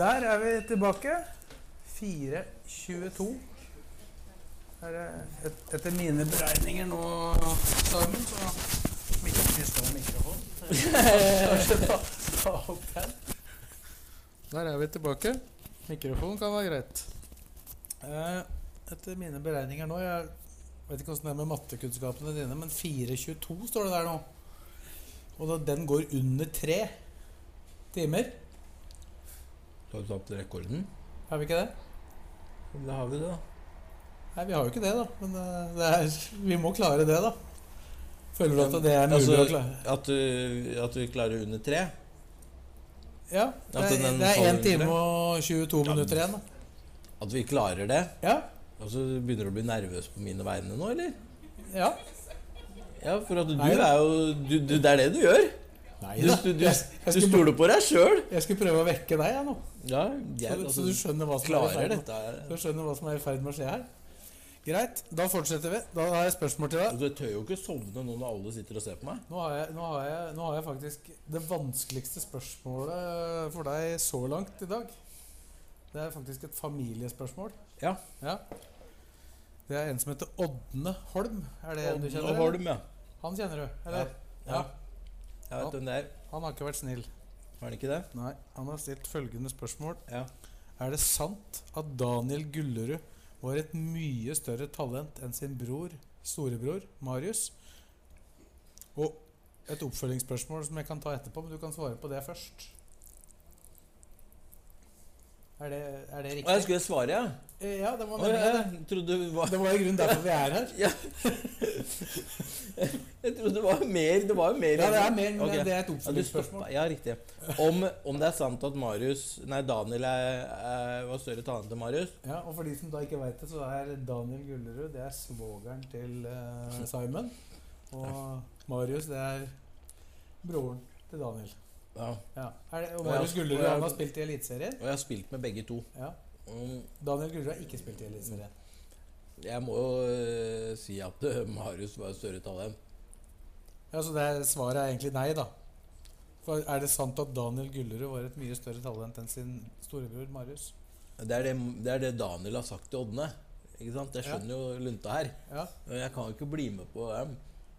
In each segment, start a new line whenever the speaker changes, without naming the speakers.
Der er vi tilbake. 4.22. Her er et, etter mine beregninger nå, Simon, så om ikke Kristian har mikrofon. Kanskje ta, ta opp den. Der er vi tilbake. Mikrofon kan være greit. Eh, etter mine beregninger nå Jeg vet ikke åssen det er med mattekunnskapene dine, men 4.22 står det der nå. Og da den går under tre timer.
Har du tapt rekorden?
Er vi ikke det?
Det har vi, da.
Nei, vi har jo ikke det, da. Men eh, det er, vi må klare det, da. Føler du at det er mulig å
Altså,
klare?
at du, at du klarer under tre?
Ja. Det
at
er,
den
det er
faller
1 time
under.
og 22 minutter igjen, da.
At vi klarer det?
Ja.
Altså, du begynner du å bli nervøs på mine vegne nå, eller?
ja.
Ja, for at du
Nei,
er jo du, du, Det er det du gjør.
Nei
Du,
da.
du, du,
Jeg, jeg,
du
skulle,
stoler på deg sjøl.
jeg skulle prøve å vekke deg, jeg, nå.
Ja,
Så
jeg,
du,
altså,
så du skjønner hva som er i
klarer
ferd med-
dette. her.
så du skjønner hva som er i ferd med å skje her. Greit. Da fortsetter vi. Da har jeg spørsmål til deg.
Du Altså, tør jo ikke sovne nå når alle sitter og ser på meg.
Nå har, jeg, nå, har jeg, nå har jeg faktisk det vanskeligste spørsmålet eh, for deg så langt i dag. Det er faktisk et familiespørsmål.
Ja.
ja. Det er en som heter Ådne Holm. Er det en du kjenner?
Og
eller?
Holm, ja.
Han kjenner du, eller?
Ja. Jeg vet hvem det er.
Han har ikke vært snill.
Er det ikke det?
Nei, Han har stilt følgende spørsmål.
Ja.
Er det sant at Daniel Gullerud var et mye større talent enn sin bror, storebror, Marius? Og et oppfølgingsspørsmål som jeg kan ta etterpå, men du kan svare på det først. Er det, er det
Å, jeg
riktig?
skulle svare, ja?
Eh, Ja, det var
Å, jeg,
meningen.
jeg trodde det var
Det Det var i grunnen derfor vi er her.
Jeg trodde det var mer. Det var jo mer.
Ja, det er mer, men
Ok.
det er et
Ja, du stoppa.
oppfølgingsspørsmål.
Ja, riktig. Om, om det er sant at Marius Nei, Daniel er, er, var større talent enn Marius?
Ja, og for de som da ikke veit det, så er Daniel Gullerud det er svogeren til eh, Simon. Og Marius det er broren til Daniel.
Ja.
Ja. Er det, og
Og jeg-
Marius Gullerud
og jeg-
han har spilt i Eliteserien.
Og jeg har spilt med begge to.
Ja.
Mm,
Daniel Gullerud har ikke spilt i Eliteserien.
Jeg må jo eh, si at eh, Marius var større talent.
Ja, Så det er, svaret er egentlig nei, da. For Er det sant at Daniel Gullerud var et mye større talent enn sin storebror Marius?
Det er det, det er det Daniel har sagt til Ådne. Ikke sant? Jeg skjønner jo lunta her.
Ja,
Men Jeg kan jo ikke bli med på um,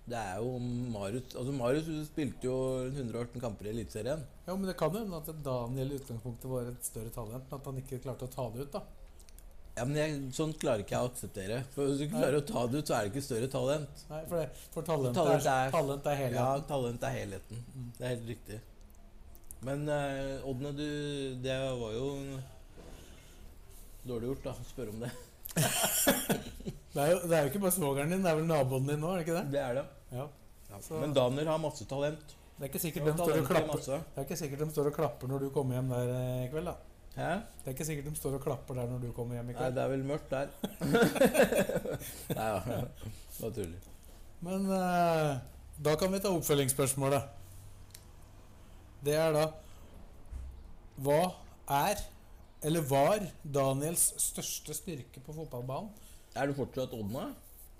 Det er jo Marius Altså Marius spilte jo 118 kamper i Eliteserien.
ja men det kan jo hende at Daniel i utgangspunktet var et større talent, men at han ikke klarte å ta det ut, da.
Ja, men jeg, Sånt klarer ikke jeg å akseptere. For Hvis du ikke klarer å ta det ut, så er det ikke større talent.
Nei, for, det, for talentet,
Talent
er,
er-
talent er
Ja, Mm.
helheten.
talent er helheten. Det er helt riktig. Men eh, Ådne, du Det var jo dårlig gjort, da. å Spørre om det.
Det, er jo, det er jo ikke bare svogeren din, det er vel naboen din nå, er det ikke det?
Det er det.
Ja. Så-
Men Daniel har masse talent.
Det er ikke sikkert,
Ja,
de står, og
talentet er
klapper.
masse.
Det er ikke sikkert de står og klapper når du kommer hjem der eh, i kveld, da.
Hæ?
Det er ikke sikkert de står og klapper der når du kommer hjem i
Nei,
kveld.
det er vel mørkt der. Nei da. Det var tull.
Men eh, da kan vi ta oppfølgingsspørsmålet. Det er da Hva er, eller var, Daniels største styrke på fotballbanen?
Er du fortsatt Ådne?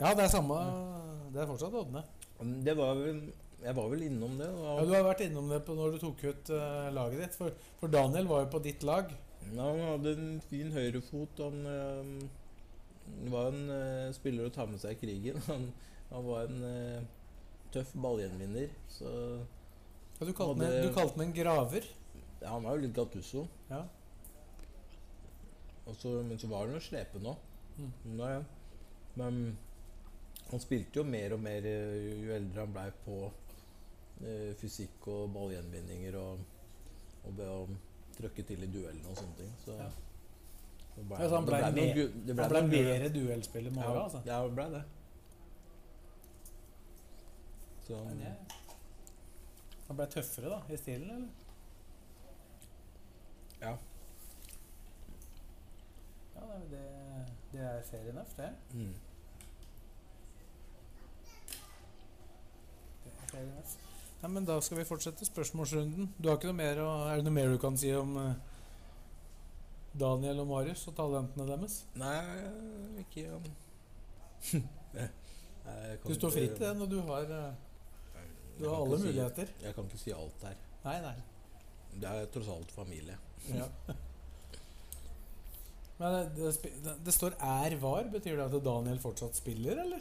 Ja, det er samme
Mm.
Det er fortsatt Ådne.
Men Det var vel, jeg var vel innom det. Og,
Ja, du har vært innom det på når du tok ut eh, laget ditt. For, for Daniel var jo på ditt lag.
Ja, Han hadde en fin høyrefot. Han øhm, var en øh, spiller å ta med seg i krigen. Han, han var en øh, tøff ballgjenvinner. Så
Ja, du kalte
Og
den en-
det-
du kalte den en graver.
ja, han var jo litt Gattusso.
Ja.
Og så- men så var han jo slepen òg.
Mm.
Men han spilte jo mer og mer øh, jo eldre han blei på øh, fysikk og ballgjenvinninger og, og ble å trøkke til i duellene og sånne ting. Så,
Ja.
så ble
Ja, så han
det
ble
noen
mer-
gu- det ble
Han ble
noen gule-
mer duellspiller med
Ja,
åra, altså.
ja, det ble det. Så,
Han ble tøffere, da, i stilen, eller?
ja.
Det er fair enough, det.
Mm.
det er fair enough. Nei, men da skal vi fortsette spørsmålsrunden. Du har ikke noe mer å, Er det noe mer du kan si om eh, Daniel og Marius og talentene deres?
Nei, ikke um. Nei, jeg kan
Du står
ikke-
fritt til den, og du har, eh, du
Jeg
har
kan
alle
ikke si-
muligheter.
Jeg kan ikke si alt her.
Nei, nei.
Det er tross alt familie.
Ja. Men det, det, spi- det, det står 'er var'. Betyr det at Daniel fortsatt spiller, eller?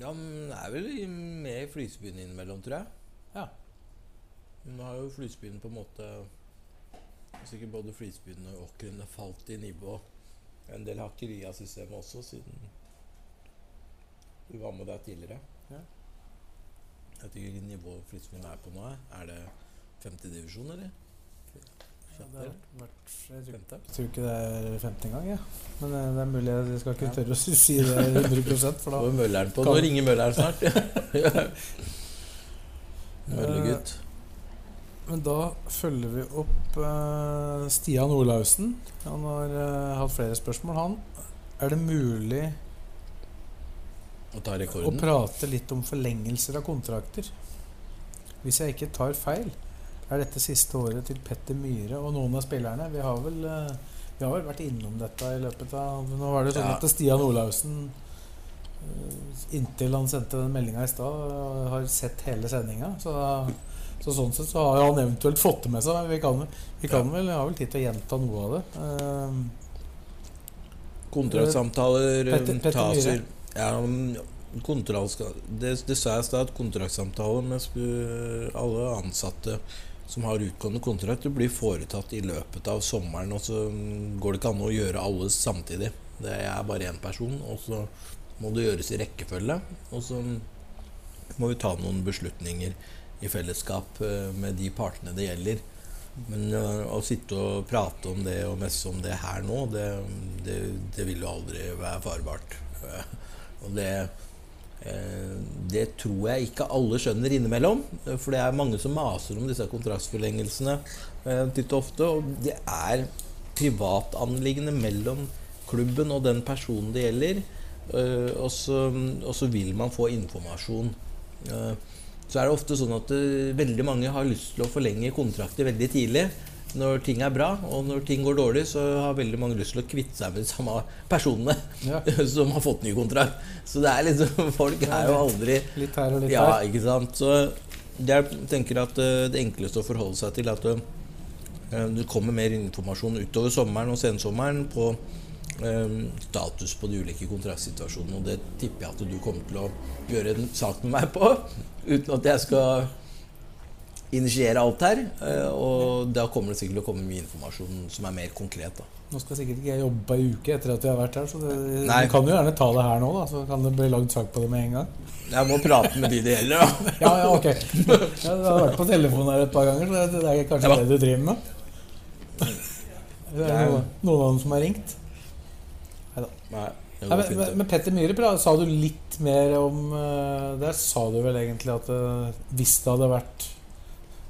Ja, men er vel i- med i Flysbyen innimellom, tror jeg.
Ja.
Nå har jo Flysbyen på en måte Sikkert både Flysbyen og Åkeren har falt i nivå. En del hakker i av systemet også, siden du var med der tidligere.
Ja.
Jeg vet ikke hvilket nivå Flysbyen er på nå. jeg. Er det femtedivisjon, eller?
Ja, det har vært, vært, jeg, tror,
Femte?
jeg tror ikke det er femte engang, jeg. Men eh, det er mulig jeg skal ikke tørre å si- si det 100 for da
Nå er Mølleren på.
Kan-
Nå ringer Mølleren snart. Møllegutt.
Eh, Men da følger vi opp eh, Stian Olaussen. Han har eh, hatt flere spørsmål, han. Er det mulig
Å ta
å
rekorden.
prate litt om forlengelser av kontrakter? Hvis jeg ikke tar feil, er dette siste året til Petter Myhre og noen av spillerne. Vi har vel, eh, vi har vel vært innom dette i løpet av Nå var det sånn
Ja.
at Stian Olaussen eh, Inntil han sendte den meldinga i stad, eh, har sett hele sendinga. Så, så sånn sett så har jo han eventuelt fått det med seg. Men vi kan, vi kan vel, har vel tid til å gjenta noe av det. Eh,
Kontraktsamtaler
Petter-
eh,
Petter
tas i
Myhre.
ja, men, ja, kontrakt skal- det, det sa jeg i stad, at kontraktssamtaler med sp- eh, alle ansatte som har utgående kontrakt, det blir foretatt i løpet av sommeren. Og så mm, går det ikke an å gjøre alle samtidig. Det er bare én person, og så må det gjøres i rekkefølge. Og så må vi ta noen beslutninger i fellesskap eh, med de partene det gjelder. Men eh, å sitte og prate om det og messe om det her nå, det, det, det vil jo aldri være farbart. Eh, Og det, eh, det tror jeg ikke alle skjønner innimellom. eh, For det er mange som maser om disse kontraktsforlengelsene eh, titt og ofte. Og det er privatanliggende mellom klubben og den personen det gjelder. eh, Og så, og så vil man få informasjon. Eh, så er det ofte sånn at eh, veldig mange har lyst til å forlenge kontrakter veldig tidlig når ting er bra, og når ting går dårlig, så har veldig mange lyst til å kvitte seg med de samme personene
Ja.
som har fått ny kontrakt. Så det er liksom Folk er jo aldri
litt her og litt
ja,
der.
ikke sant. Så jeg tenker at eh, det enkleste å forholde seg til er at eh, det kommer mer informasjon utover sommeren og sensommeren på eh, status på de ulike kontraktsituasjonene. Og det tipper jeg at du kommer til å gjøre en sak med meg på, uten at jeg skal initiere alt her. Eh, og da kommer det sikkert til å komme mye informasjon som er mer konkret. da.
Nå skal sikkert ikke jeg jobbe ei uke etter at vi har vært her, så det,
Nei.
vi kan jo gjerne ta det her nå, da. Så kan det bli lagd sak på det med en gang.
Jeg må prate med de det gjelder, da.
Ja, ja, ok. Ja, du har vært på telefonen her et par ganger, så det er kanskje
Ja, da.
det du driver med? Det
Det
er
er-
noen, noen av dem som har ringt.
Nei, det
Nei,
går
men,
fint.
men-
det.
men Petter Myhre, pra- sa du litt mer om eh, Der sa du vel egentlig at eh, hvis det hadde vært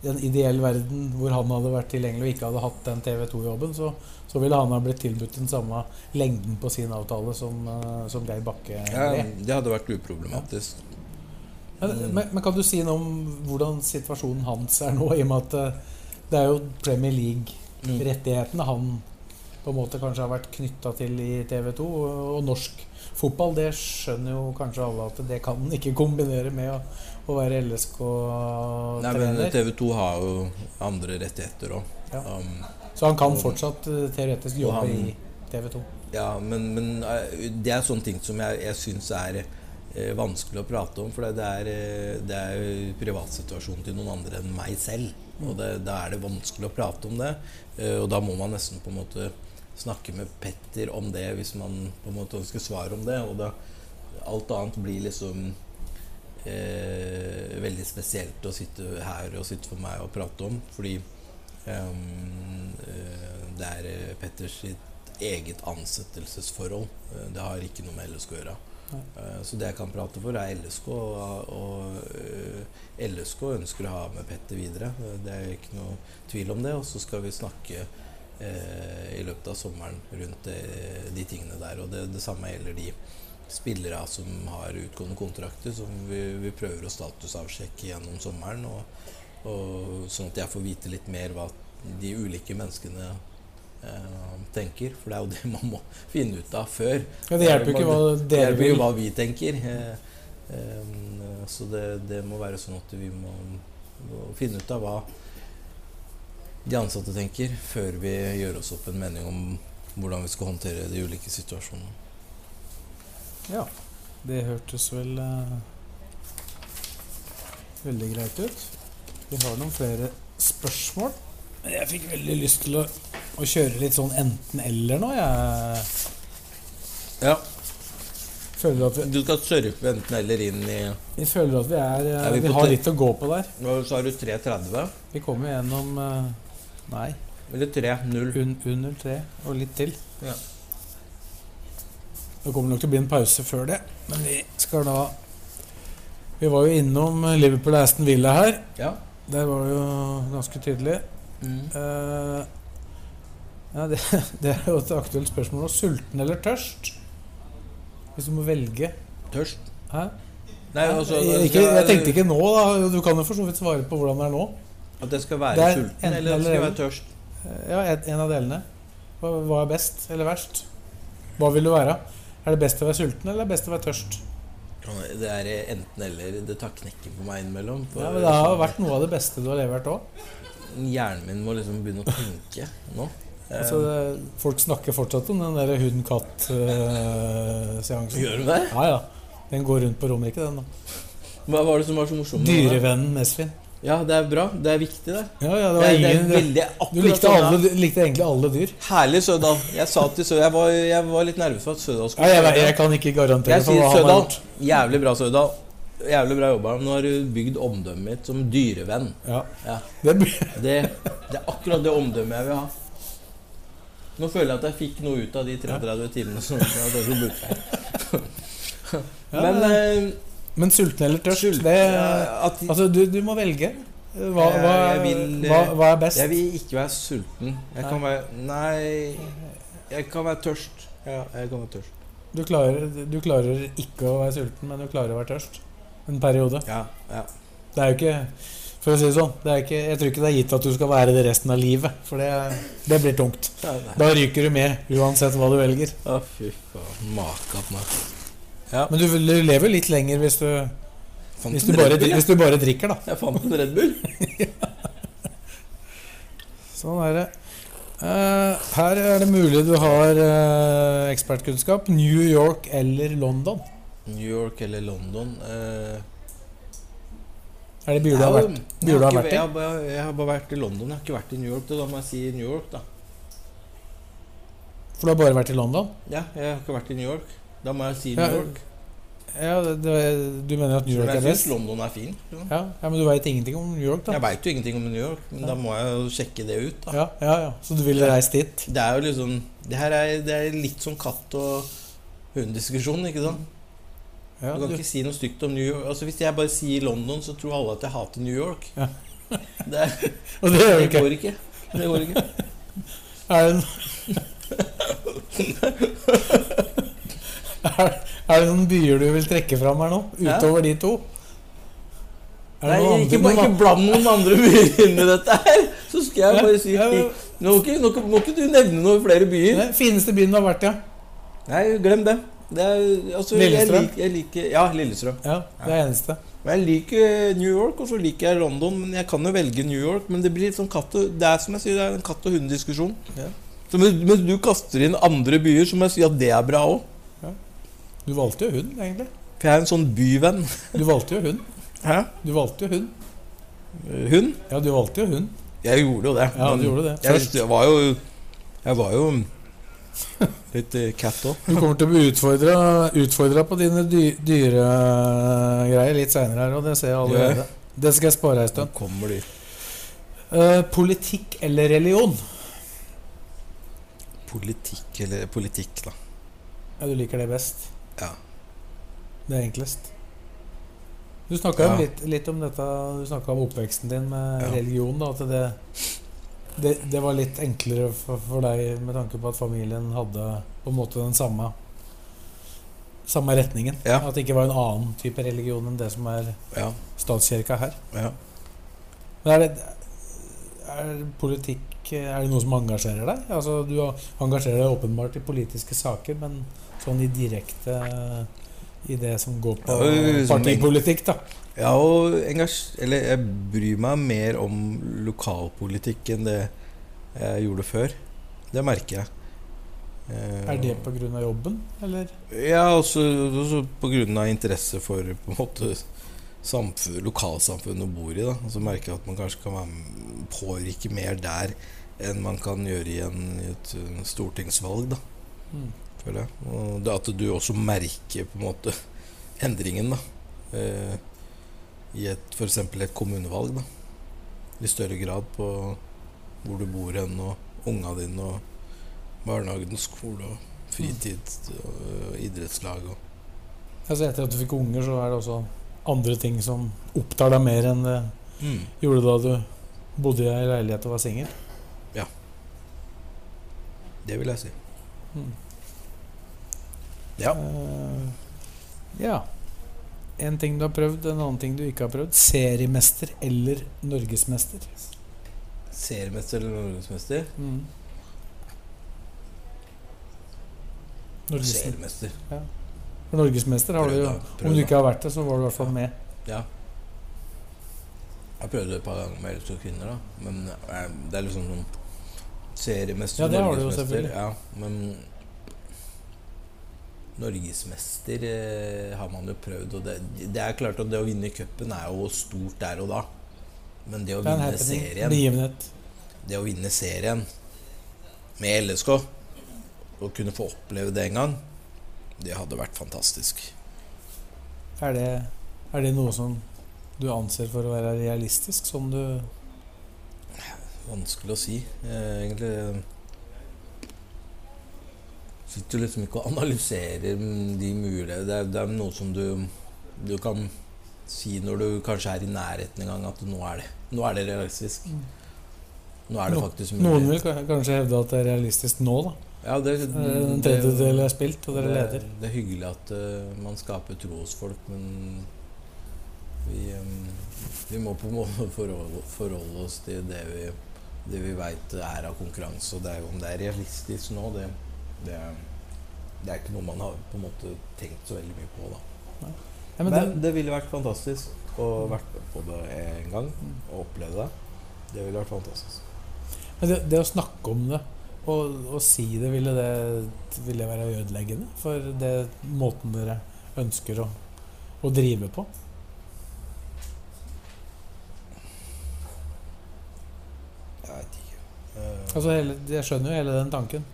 i en ideell verden hvor han hadde vært tilgjengelig og ikke hadde hatt den TV2-jobben, så, så ville han ha blitt tilbudt den samme lengden på sin avtale som, eh, som Geir Bakke.
Ja,
ble.
det hadde vært uproblematisk. Mm.
Men, men, men kan du si noe om hvordan situasjonen hans er nå, i og med at eh, det er jo Premier
Mm.
League-rettighetene han på en måte kanskje har vært knytta til i TV 2, og norsk fotball, det skjønner jo kanskje alle at det kan han ikke kombinere med å, å være
Nei, men
LSK-trener.
TV 2 har jo andre rettigheter òg.
Ja.
Um,
Så han kan fortsatt eh, teoretisk
Og
jobbe
han-
i TV 2.
ja, men, men eh, det er sånne ting som jeg, jeg syns er eh, vanskelig å prate om. For det er, eh, det er jo privatsituasjonen til noen andre enn meg selv. Og det, da er det vanskelig å prate om det. Eh, og da må man nesten på en måte snakke med Petter om det hvis man på en måte ønsker svar om det. Og da, alt annet blir liksom eh, veldig spesielt å sitte her og sitte for meg og prate om. Fordi ehm, eh, det er eh, Petters sitt eget ansettelsesforhold. Eh, det har ikke noe med LSK å gjøre. Eh, så det jeg kan prate for, er LSK. Og, og eh, LSK ønsker å ha med Petter videre. Eh, det er ikke noe tvil om det. Og så skal vi snakke eh, i løpet av sommeren rundt eh, de tingene der. Og det, det samme gjelder de spillere som har utgående kontrakter, som vi, vi prøver å statusavsjekke gjennom sommeren. Og, og sånn at jeg får vite litt mer hva de ulike menneskene eh, tenker. For det er jo det man må finne ut av før. Eh,
Ja, det hjelper jo ikke hva
Det
dere
hjelper jo
vil.
hva vi tenker. Eh, eh, så det, det må være sånn at vi må, må finne ut av hva de ansatte tenker, før vi gjør oss opp en mening om hvordan vi skal håndtere de ulike situasjonene.
Ja, det hørtes vel eh, veldig greit ut. Vi har noen flere spørsmål. Men Jeg fikk veldig lyst til å, å kjøre litt sånn enten-eller nå. Jeg
Ja,
føler at vi,
Du skal surfe enten eller inn i
jeg føler at vi, er, eh,
Er vi på
vi har
te-
litt å gå på der.
Hva sa du? 3.30?
Vi kommer gjennom eh, Nei,
Eller 3.0?
un, under tre og litt til.
Ja.
Det kommer nok til å bli en pause før det, men vi skal da Vi var jo innom Liverpool og Aston Villa her.
Ja. Mm.
Der var det jo ganske tydelig. Eh, ja, det, det er jo et aktuelt spørsmål. nå. Sulten eller tørst? Hvis du må velge.
Tørst?
Hæ?
Nei, altså
jeg,
det
ikke,
skal-
jeg tenkte ikke nå, da. Du kan jo for så vidt svare på hvordan det er nå.
At jeg skal være
Det er
sulten,
enten
eller at jeg
eller
skal
eller.
være tørst.
Eh, Ja, en, en av delene. Hva, hva er best eller verst? Hva vil du være? Er det best å være sulten eller er det best å være tørst?
Det er enten eller. Det tar knekken på meg innimellom. for-
Ja, men Det
sånn.
har jo vært noe av det beste du har levert òg.
Hjernen min må liksom begynne å tenke nå. Eh,
Altså, det- folk snakker fortsatt om den der eh, hund-katt-seansen.
Gjør du det?
Ja, ja. Den går rundt på Romerike, den. da
Hva var det som var så morsomt? med det?
Dyrevennen Mesvin.
Ja, det er bra. Det er viktig, det.
Ja, ja, det
Det
var
er, det er
ingen
veldig
Du
akkurat
likte,
sånn, ja.
alle, du likte egentlig alle dyr.
Herlig Sødal. Jeg sa til Sødal jeg, var- jeg var litt nervøs for at Sødal skulle
Ja, jeg, jeg kan ikke garantere
Jeg
for
sier
hva han har
Sødal.
gjort.
Jævlig bra, Sødal. Jævlig bra jobba. Nå har du bygd omdømmet mitt som dyrevenn.
Ja.
Ja.
Det, blir-
Det, det er akkurat det omdømmet jeg vil ha. Nå føler jeg at jeg fikk noe ut av de 33 timene som jeg hadde brukt her. Men eh,
men sulten eller tørst
Sulten,
det,
ja, at-
Altså, du, du må velge. Hva, hva,
Jeg vil, eh,
hva, hva er best?
jeg vil ikke være sulten. Jeg kan være Nei, jeg kan være tørst. Ja, jeg kan være tørst.
Du klarer, du klarer ikke å være sulten, men du klarer å være tørst. En periode.
Ja, ja.
Det er jo ikke For å si det sånn, det er ikke, jeg tror ikke det er gitt at du skal være det resten av livet. For det, det blir tungt. Da ryker du med, uansett hva du velger.
Å, fy faen. Maka på meg.
Men du, du lever jo litt lenger hvis du,
Fant
hvis
en
du, bare,
Red Bull, jeg.
hvis du bare drikker, da.
Jeg fant en Red Bull.
Sånn er det. Eh, her er det mulig du har eh, ekspertkunnskap. New York eller London?
New York eller London eh,
Er det byer du har
jeg-
vært,
jeg
byer du har
ikke-
vært i?
Jeg har, bare, jeg har bare vært i London. Jeg har ikke vært i New York. Da må jeg si New York, da.
For du har bare vært i London?
Ja, jeg har ikke vært i New York. Da må jeg si
Ja,
New York.
Ja, det, det, du mener at New
Men
York er
jeg syns
best?
London er fin. Ja.
Ja, ja, Men du veit ingenting om New York, da?
Jeg veit jo ingenting om New York, men da må jeg jo sjekke det ut. da
Ja, ja, ja. Så du ville reist dit?
Det er jo liksom Det her er, det er litt sånn katt og hund-diskusjon, ikke sant?
Ja,
Du
du,
kan ikke si noe stygt om New York. Altså Hvis jeg bare sier London, så tror alle at jeg hater New York.
Ja.
Det, er,
og det gjør du
det
ikke?
går ikke. Det går ikke.
Er det, er, er det noen byer du vil trekke fram her nå?
Ja.
Utover de to? Er
Nei,
det noen
ikke,
andre?
bare-
noen
ikke bland noen andre byer inn i dette her! Så skal jeg bare si
Ja, ja, ja.
Nå må ikke, nå kan- må ikke du nevne noen flere byer.
andre? Fineste byen du har vært i? Ja.
Nei, glem det. det er, altså, jeg,
Lillestrøm?
lik, jeg liker Ja, Lillestrøm.
Ja, det er eneste.
Men Jeg liker New York, og så liker jeg London. Men jeg kan jo velge New York. Men det blir litt sånn katt og Det er som jeg sier, det er en katt og hund-diskusjon.
Ja.
Så mens, mens du kaster inn andre byer, så må jeg si at det er bra òg.
Du valgte jo hund, egentlig.
For jeg er en sånn byvenn.
Du valgte jo hund.
Hæ?
Du valgte jo hund.
Hund?
Ja, du valgte jo hund.
Jeg gjorde jo det.
Ja,
men
du gjorde det.
Jeg, jeg var jo Jeg var jo litt eh, cat òg.
Du kommer til å bli utfordra, utfordra på dine dy dyregreier litt seinere her, og det ser jeg allerede. Det skal jeg spare ei stund.
Kommer de
Eh, politikk eller religion?
politikk eller politikk, da?
Ja, du liker det best.
Ja.
Det er enklest. Du snakka
Ja.
litt, litt om dette Du snakket om oppveksten din med
Ja.
religion. da At det, det, det var litt enklere for, for deg med tanke på at familien hadde på en måte den samme Samme retningen.
Ja.
At det ikke var en annen type religion enn det som er
Ja,
statskirka her.
ja.
Men er det er politikk Er det noe som engasjerer deg? Altså, du engasjerer deg åpenbart i politiske saker, men sånn i direkte I det som går på
Ja, som
partipolitikk, da.
Ja, og engasj... Eller jeg bryr meg mer om lokalpolitikk enn det jeg gjorde før. Det merker jeg. Eh,
Er det pga. jobben, eller?
Ja, også, også på grunn av interesse for på en måte samfunn, lokalsamfunnet man bor i. Da. Og Så merker jeg at man kanskje kan være m- påvirke mer der enn man kan gjøre i, en, i et uh, stortingsvalg, da,
Mm.
føler jeg. Og det at du også merker på en måte endringen da, eh, i et, for eksempel et kommunevalg. Da. I større grad på hvor du bor hen, og unga dine, og barnehagen, skole og fritid og idrettslag. Og.
Altså, etter at du fikk unger, så er det også andre ting som opptar deg mer enn det gjorde da du bodde i ei leilighet og var singel.
Det vil jeg si.
Mm.
Ja.
Eh, ja. En ting du har prøvd, en annen ting du ikke har prøvd. Seriemester eller norgesmester.
Seriemester eller norgesmester?
Mm. Norges,
Seriemester.
for norgesmester har du jo
Prøv da, prøv
Om du
da.
ikke har vært det, så var du i hvert fall med.
Ja. Jeg prøvde et par ganger med to kvinner, da. Men eh, det er liksom sånn Seriemester,
Ja, det har du jo selvfølgelig.
Ja, men Norgesmester eh, har man jo prøvd, og det, det er klart at det å vinne cupen er jo stort der og da. Men det å
Det er en
vinne
happening.
serien
Begivenhet.
det å vinne serien med LSK og kunne få oppleve det en gang, det hadde vært fantastisk.
Er det, er det noe som du anser for å være realistisk? Som du
Vanskelig å si, eh, egentlig. Sitter jo liksom ikke og analyserer de mulige Det er, det er noe som du, du kan si når du kanskje er i nærheten en gang, at nå er det, nå er det realistisk. Nå er det
Mm. No-
faktisk
Noen
mulig.
vil ka- kanskje hevde at det er realistisk nå, da.
Ja, Mm, det,
Eh, En tredjedel er spilt, og dere
det,
leder.
Det er hyggelig at eh, man skaper tro hos folk, men vi, eh, vi må på en måte forholde, forholde oss til det vi, det vi veit er av konkurranse. Og det er jo om det er realistisk nå, det, det, er- det er ikke noe man har på en måte tenkt så veldig mye på. da.
Ja, men
Men
det,
det, ville vært fantastisk å vært med på det en gang
Mm.
og oppleve det. Det ville vært fantastisk.
men det, det å snakke om det og, og si det, ville det ville det være ødeleggende for det måten dere ønsker å, å drive på?
Jeg veit ikke. Eh,
Altså hele, Jeg skjønner jo hele den tanken.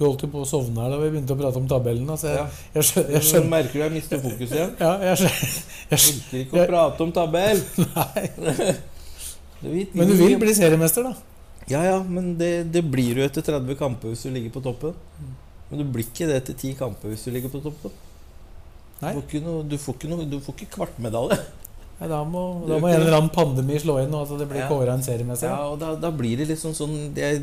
Du holdt jo på å sovne her da vi begynte å prate om tabellen. Altså, jeg,
Ja.
jeg skjønner, jeg
Nå
skjønner,
merker du jeg mister fokus igjen.
ja, jeg skjønner, jeg skjønner.
Orker ikke å prate om tabell.
Nei.
Du vet,
Men du vil bli seriemester, da?
Ja, ja, men det, det blir du etter 30 kamper hvis du ligger på toppen. Men du blir ikke det etter 10 kamper hvis du ligger på toppen.
Nei.
Du får ikke, noe, du får ikke, noe, du får ikke kvartmedalje.
Nei, da må,
Det er
da
jo
må
ikke
en
det.
eller annen pandemi slå inn, og at det blir
Ja.
kåra en seriemester.
Ja,
da.
og da, da blir det liksom sånn jeg,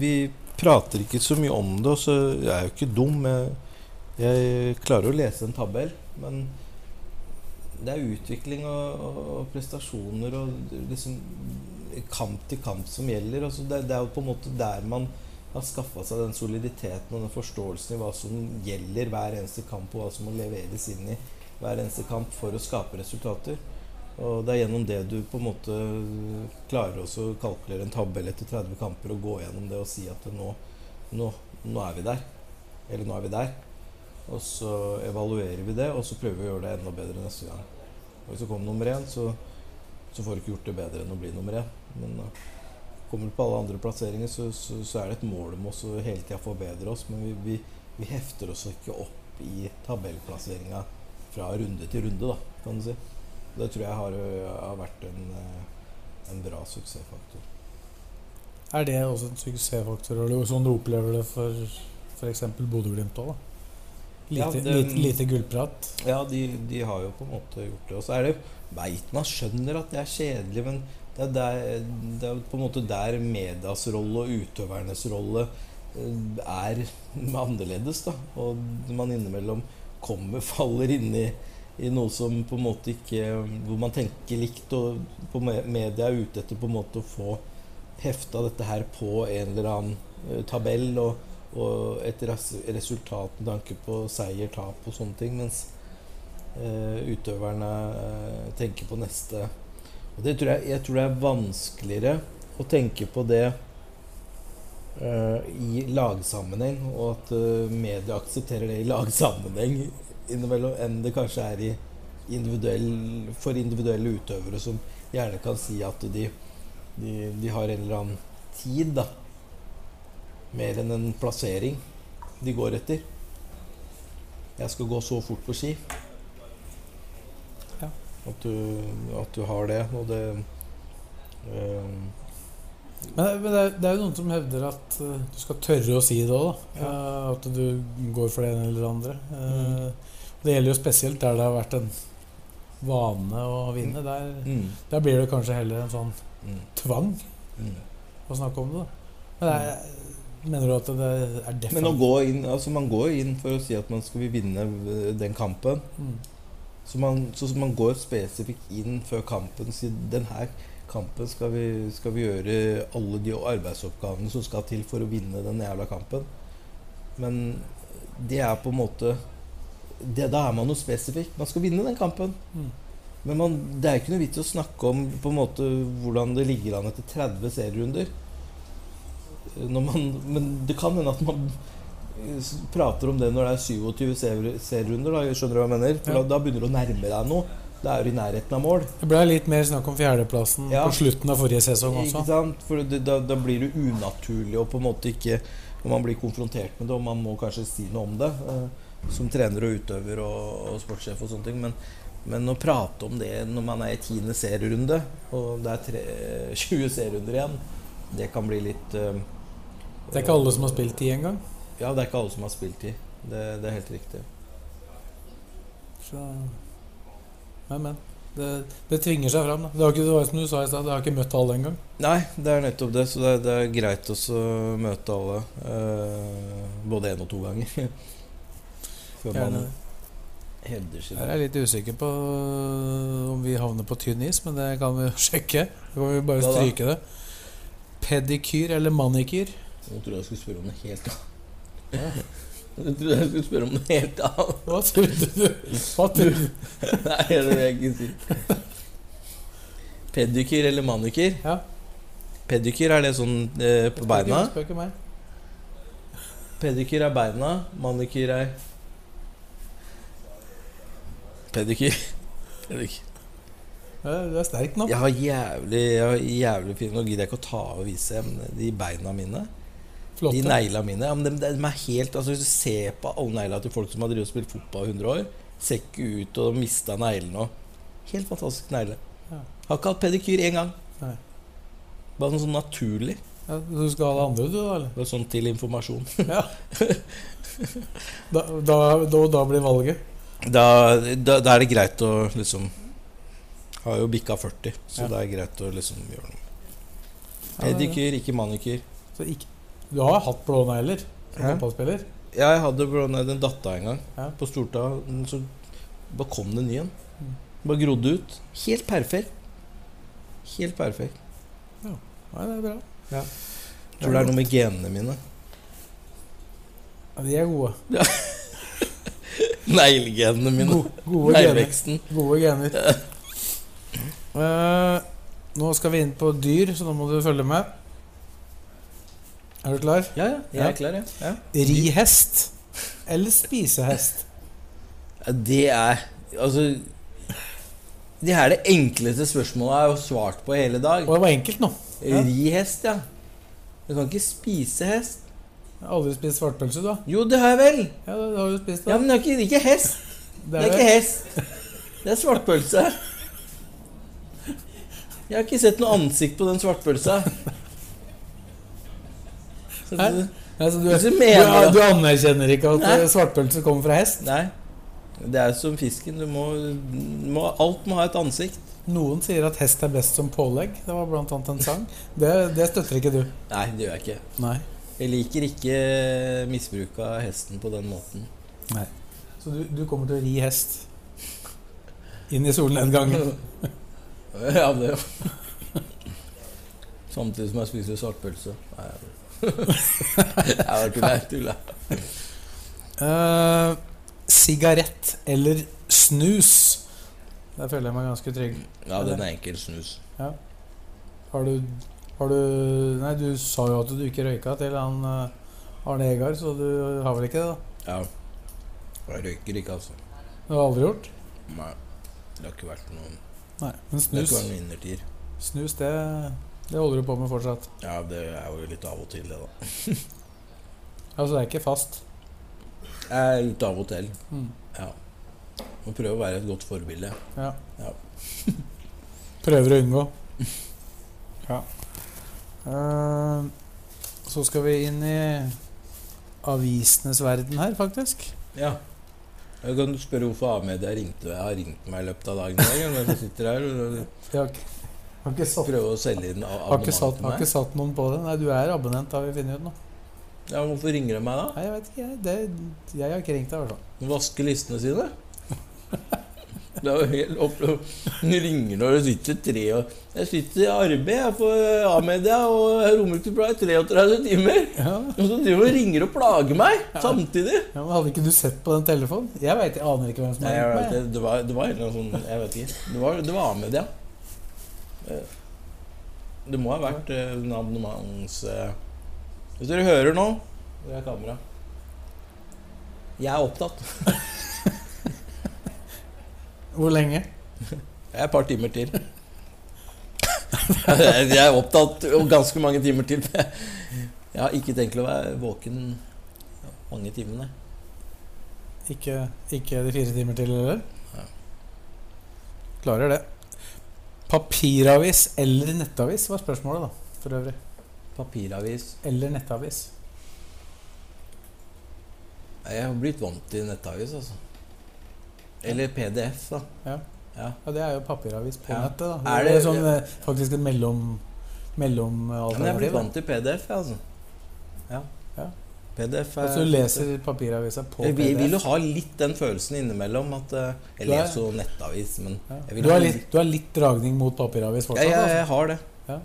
Vi prater ikke så mye om det, og så jeg er jo ikke dum. Jeg, jeg klarer å lese en tabell, men det er utvikling og, og, og prestasjoner og liksom kamp til kamp som gjelder. Altså det, det er jo på en måte der man har skaffa seg den soliditeten og den forståelsen i hva som gjelder hver eneste kamp, og hva som må leveres inn i hver eneste kamp for å skape resultater. Og det er gjennom det du på en måte klarer også å kalkulere en tabell etter 30 kamper og gå gjennom det og si at nå, nå, nå er vi der. Eller nå er vi der. Og så evaluerer vi det, og så prøver vi å gjøre det enda bedre neste gang. Og hvis du kommer nummer én, så, så får du ikke gjort det bedre enn å bli nummer én. Men eh, kommer du på alle andre plasseringer, så, så, så er det et mål om oss å hele tida forbedre oss. Men vi, vi, vi hefter oss ikke opp i tabellplasseringa fra runde til runde, da, kan du si. Det tror jeg har, har vært en, eh, en bra suksessfaktor.
Er det også en suksessfaktor, eller sånn du opplever det for f.eks. Bodø-Glimt òg? Lite,
Ja, det-
lite, lite gullprat.
Ja, de, de har jo på en måte gjort det. Og så er det veit man skjønner at det er kjedelig, men Det er, der, det er på en måte der medias rolle og utøvernes rolle eh, er annerledes. da Og man innimellom kommer, faller inn i, i noe som på en måte ikke Hvor man tenker likt, og på me- media er ute etter på en måte å få hefta dette her på en eller annen eh, tabell. og og et res- resultat med tanke på seier, tap og sånne ting. Mens eh, utøverne eh, tenker på neste. Og det tror jeg, jeg tror det er vanskeligere å tenke på det eh, i lagsammenheng, og at eh, media aksepterer det i lagsammenheng innimellom, enn det kanskje er i individuell, for individuelle utøvere som gjerne kan si at de, de, de har en eller annen tid, da. Mer enn en plassering de går etter. Jeg skal gå så fort på ski.
Ja.
At, du, at du har det, og det eh,
Men, det- men det, er, det er jo noen som hevder at eh, du skal tørre å si det òg, da. Eh, at du går for det ene eller det andre. Eh, Det gjelder jo spesielt der det har vært en vane å vinne. Der,
mm,
der blir det kanskje heller en sånn
mm,
tvang
mm.
å snakke om det. da. Men det er, mener du at det er defensivt?
Men å gå inn altså Man går inn for å si at man skal vinne eh, den kampen.
mm.
Så man, så man går spesifikt inn før kampen og sier den her kampen skal vi, skal vi gjøre alle de arbeidsoppgavene som skal til for å vinne den jævla kampen. Men det er på en måte det, Da er man jo spesifikk. Man skal vinne den kampen.
Mm.
Men man, det er ikke noe vits å snakke om på en måte hvordan det ligger an etter 30 serierunder. Eh, Når man, men det kan hende at man s- prater om det når det er 27 ser- serierunder. Da, skjønner du hva jeg mener? For
Ja.
da, da begynner du å nærme deg noe. Da er du i nærheten av mål.
Det ble litt mer snakk om fjerdeplassen
Ja.
på slutten av forrige sesong
Ikke
også.
sant? For det, da, da blir det unaturlig og på en måte ikke Når man blir konfrontert med det, og man må kanskje si noe om det eh, som trener og utøver og, og sportssjef og sånne ting, men, men å prate om det når man er i tiende serierunde, og det er tre, 20 serierunder igjen, det kan bli litt eh,
Det er ikke alle som har spilt ti engang.
Ja, det er ikke alle som har spilt i. Det, det er helt riktig.
Så Men, men. Det, det tvinger seg fram. Da. Det har ikke, det var som du sa i stad, det har ikke møtt alle engang.
Nei, det er nettopp det, så det er, det er greit også å møte alle. eh, både én og to ganger. Før man
Gjerne.
hevder sin
Jeg er litt usikker på øh, om vi havner på tynn is, men det kan vi sjekke. Da kan vi bare
Hva da?
stryke det. Pedikyr eller manikyr?
Nå trodde jeg jeg skulle spørre om noe helt annet. Jeg trodde jeg skulle spørre om noe helt annet.
Hva trodde du? Hva trodde du?
Nei, det vil jeg ikke si. Pedikyr eller manikyr?
Ja.
Pedikyr er det sånn eh, på beina?
Spør ikke meg.
Pedikyr er beina, manikyr er Pedikyr. Pedikyr.
Ja, Du er sterk nå.
Jeg har jævlig, jeg har jævlig fin Nå gidder jeg ikke å ta av og vise men de beina mine.
Flott.
De negla mine ja, men de, de er helt, altså, Hvis du ser på alle negla til folk som har drevet og spilt fotball i 100 år, ser ikke ut og mista neglene og Helt fantastisk negle.
Ja.
Har ikke hatt pedikyr én gang.
Nei.
Bare sånn, sånn naturlig.
Ja, du skal ha det andre, du, da? eller?
Bare sånn til informasjon.
Da, da, da, da blir valget.
Da, da, da er det greit å liksom Har jo bikka 40, så
Ja.
det er greit å liksom gjøre noe.
Ja, det er det.
Pedikyr, ikke manikyr.
Så ikke, du har hatt blå negler som
Hæ?
fotballspiller?
Ja, jeg hadde blant annet en datta en gang
Ja.
på Storta. Så bare kom det en ny en. Bare grodde ut. Helt perfekt. Helt perfekt.
Nei, det er bra.
Jeg tror det er noe med genene mine.
Ja, de er gode.
Neglegenene mine.
Go- gode gener.
Negleveksten.
Gode gener. Eh, nå skal vi inn på dyr, så nå må du følge med. Er du klar?
Ja, ja. Jeg
Ja.
er klar, jeg. Ja.
Rihest eller spisehest?
Ja, Det er Altså Det her er det enkleste spørsmålet jeg har svart på hele dag.
Og det var enkelt nå. ja.
Ri hest, ja. Du kan ikke spise hest.
Jeg har aldri spist svartpølse, du da?
Jo, det har jeg vel.
Ja, det har du spist
Ja,
da.
men det er ikke, det er ikke hest.
det
Det er ikke hest. Det er svartpølse. Jeg har ikke sett noe ansikt på den svartpølsa. Så
Hæ?
det-
Nei, så du,
Hvis du
du,
mener det.
du anerkjenner ikke at
Nei.
eh, svartpølse kommer fra hest?
Nei. Det er som fisken. Du må, må Alt må ha et ansikt.
Noen sier at hest er best som pålegg. Det var blant annet en sang. Det, det støtter ikke du.
Nei, det gjør jeg ikke.
Nei.
Jeg liker ikke misbruk av hesten på den måten.
Så du, du kommer til å ri hest inn i solnedgangen.
Ja, det Samtidig som jeg spiser svartpølse. Nei, jeg Jeg var tulla. jeg tulla.
Eh, Sigarett eller snus? Der føler jeg meg ganske trygg.
Ja, den er enkel snus.
Har du, har du Nei, du sa jo at du ikke røyka til han eh, Arne Egar, så du har vel ikke det? da?
Ja. Jeg røyker ikke, altså.
Det har du aldri gjort?
Nei. Det har ikke vært noen
Nei, Men
Det har
snus,
ikke vært noen innertier.
snus det, det holder du på med fortsatt.
Ja, det er jo litt av og til, det, da.
Altså, det er ikke fast.
Jeg er litt av og til.
Mm.
Ja. Må prøve å være et godt forbilde.
Ja.
Ja.
Prøver å unngå. Ja. Eh, så skal vi inn i avisenes verden her, faktisk.
Ja. Jeg kan spørre hvorfor A-media ringte har ringt meg i løpet av dagen. i dag, eller Når jeg sitter her og
Jeg har ikke, har ikke satt
prøver å selge inn a-
har ikke, satt,
abonnementet
har
meg.
ikke satt noen på det. Nei, du er abonnent, har vi funnet ut nå.
Ja, hvorfor ringer de meg da?
Nei, jeg vet ikke. Jeg, det, jeg har ikke ringt deg, i hvert fall.
De vasker listene sine? Det er jo helt oppløp. De ringer når det sitter tre og Jeg sitter i arbeid jeg, for A-media og Romerike Pride 33 timer.
Ja.
Og så driver de og ringer og plager meg samtidig.
Ja, men hadde ikke du sett på den telefonen? Jeg, vet, jeg aner ikke hvem som
Nei,
har
jeg
ringt
vet,
meg.
det, det, var, det var en eller annen sånn Jeg vet ikke. Det var, det var A-media. Eh, Det må ha vært eh, en abonnements... eh. Hvis dere hører nå Det er kamera. Jeg er opptatt.
Hvor lenge?
Jeg er et par timer til. Jeg er opptatt om ganske mange timer til. Jeg har ikke tenkt å være våken mange timene.
Ikke, ikke de fire timer til, eller?
Ja.
Klarer det. Papiravis eller nettavis var spørsmålet, da. For øvrig.
Papiravis.
Eller nettavis.
Jeg har blitt vant til nettavis, altså. Eller PDF, da.
Ja, det er jo papiravis på
Ja.
nettet, da. Det
Er
er det,
det-
sånn, eh, faktisk et mellom
Ja, men jeg har
mellomalternativ.
blitt
da.
vant til PDF, jeg, altså. Ja.
Ja.
PDF er
altså, du leser papiravisa på
Jeg vil,
PDF.
vil jo ha litt den følelsen innimellom at eh, Jeg
Du er-
leser jo nettavis, men
Ja.
jeg vil
Du,
ha
har litt, du har litt dragning mot papiravis
Ja,
fortsatt?
jeg,
altså.
jeg har det.
Ja.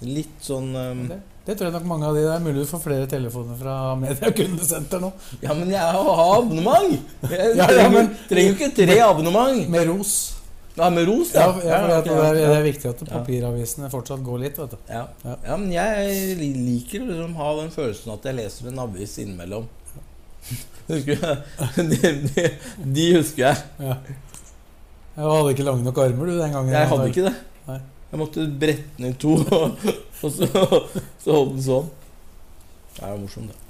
Litt sånn um,
Det, det tror jeg nok mange av de Det er mulig du får flere telefoner fra mediekundesenter nå.
Ja, men jeg har har abonnement! Jeg
Ja, ja,
trenger,
men-
trenger ikke tre abonnement!
Med ros.
Ja, med ros,
Ja, ja, fordi at
ok,
det, er,
ja.
det er viktig at papiravisene fortsatt går litt. Vet du.
Ja.
Ja.
ja, men jeg li- liker liksom å ha den følelsen at jeg leser en avis innimellom. Husker jeg? De, de, de husker jeg.
Jeg hadde ikke lange nok armer du den gangen.
Jeg hadde ikke det.
Nei.
Jeg måtte brette den i to, og, og så, så holdt den sånn. Det er jo morsomt, det.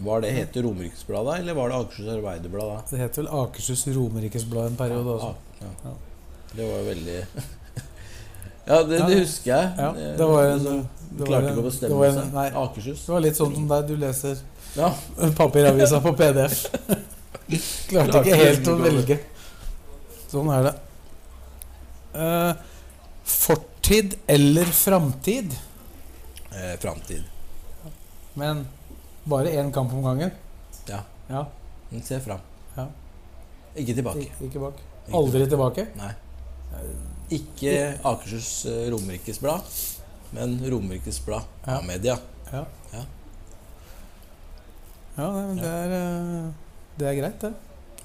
Var det hete Romeriksbladet, eller var det Akershus Arbeiderblad da?
Det het vel Akershus Romerikesblad en periode altså. også.
Ja,
sånn. Ja.
ja. Det var jo veldig Ja, det,
Ja,
det
det-
husker jeg.
ja, det var en-
Så-
det var
klarte
en-
ikke å
det
bestemme
var en-
seg.
nei.
Akershus.
Det var litt sånn som deg. Du leser
Ja.
papiravisa på PDF. Klarte ikke helt å velge. Sånn er det. Eh, fortid eller framtid?
Eh, framtid.
Men bare én kamp om gangen.
Ja.
ja.
Men Se fram.
Ja.
Ikke tilbake.
Ik- Ikke bak.
Ikke
Aldri tilbake?
Nei. Ikke Akershus eh, Romerikes Blad, men Romerikes Blad
Ja.
media.
Ja, nei, men det er, eh, det er greit, det.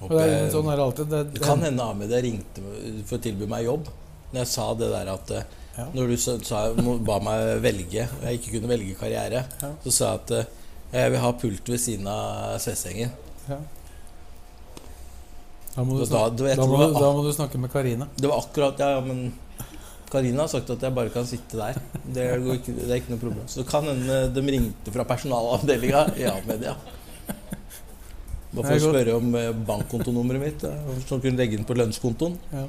Og
Håper
det er,
jeg-
sånn er det alltid. Det,
Det kan hende Ahmed ringte meg for å tilby meg jobb. Når jeg sa det der at eh,
Ja.
Når du sa, sa, må- ba meg velge, og jeg ikke kunne velge karriere,
Ja.
så sa jeg at eh, jeg vil ha pult ved siden av Sessengen.
Ja. Da må du
Og
snakke,
da- da- jeg
da
tror
må,
det
du-
var
da må du snakke med Karina.
Det var akkurat Ja, ja, men Karina har sagt at jeg bare kan sitte der. Det, går ikke, det er ikke noe problem. Så det kan hende eh, de ringte fra personalavdelinga i A-media. Bare for
Det
å
er godt.
spørre om eh, bankkontonummeret mitt, eh, så kunne legge inn på lønnskontoen.
Ja.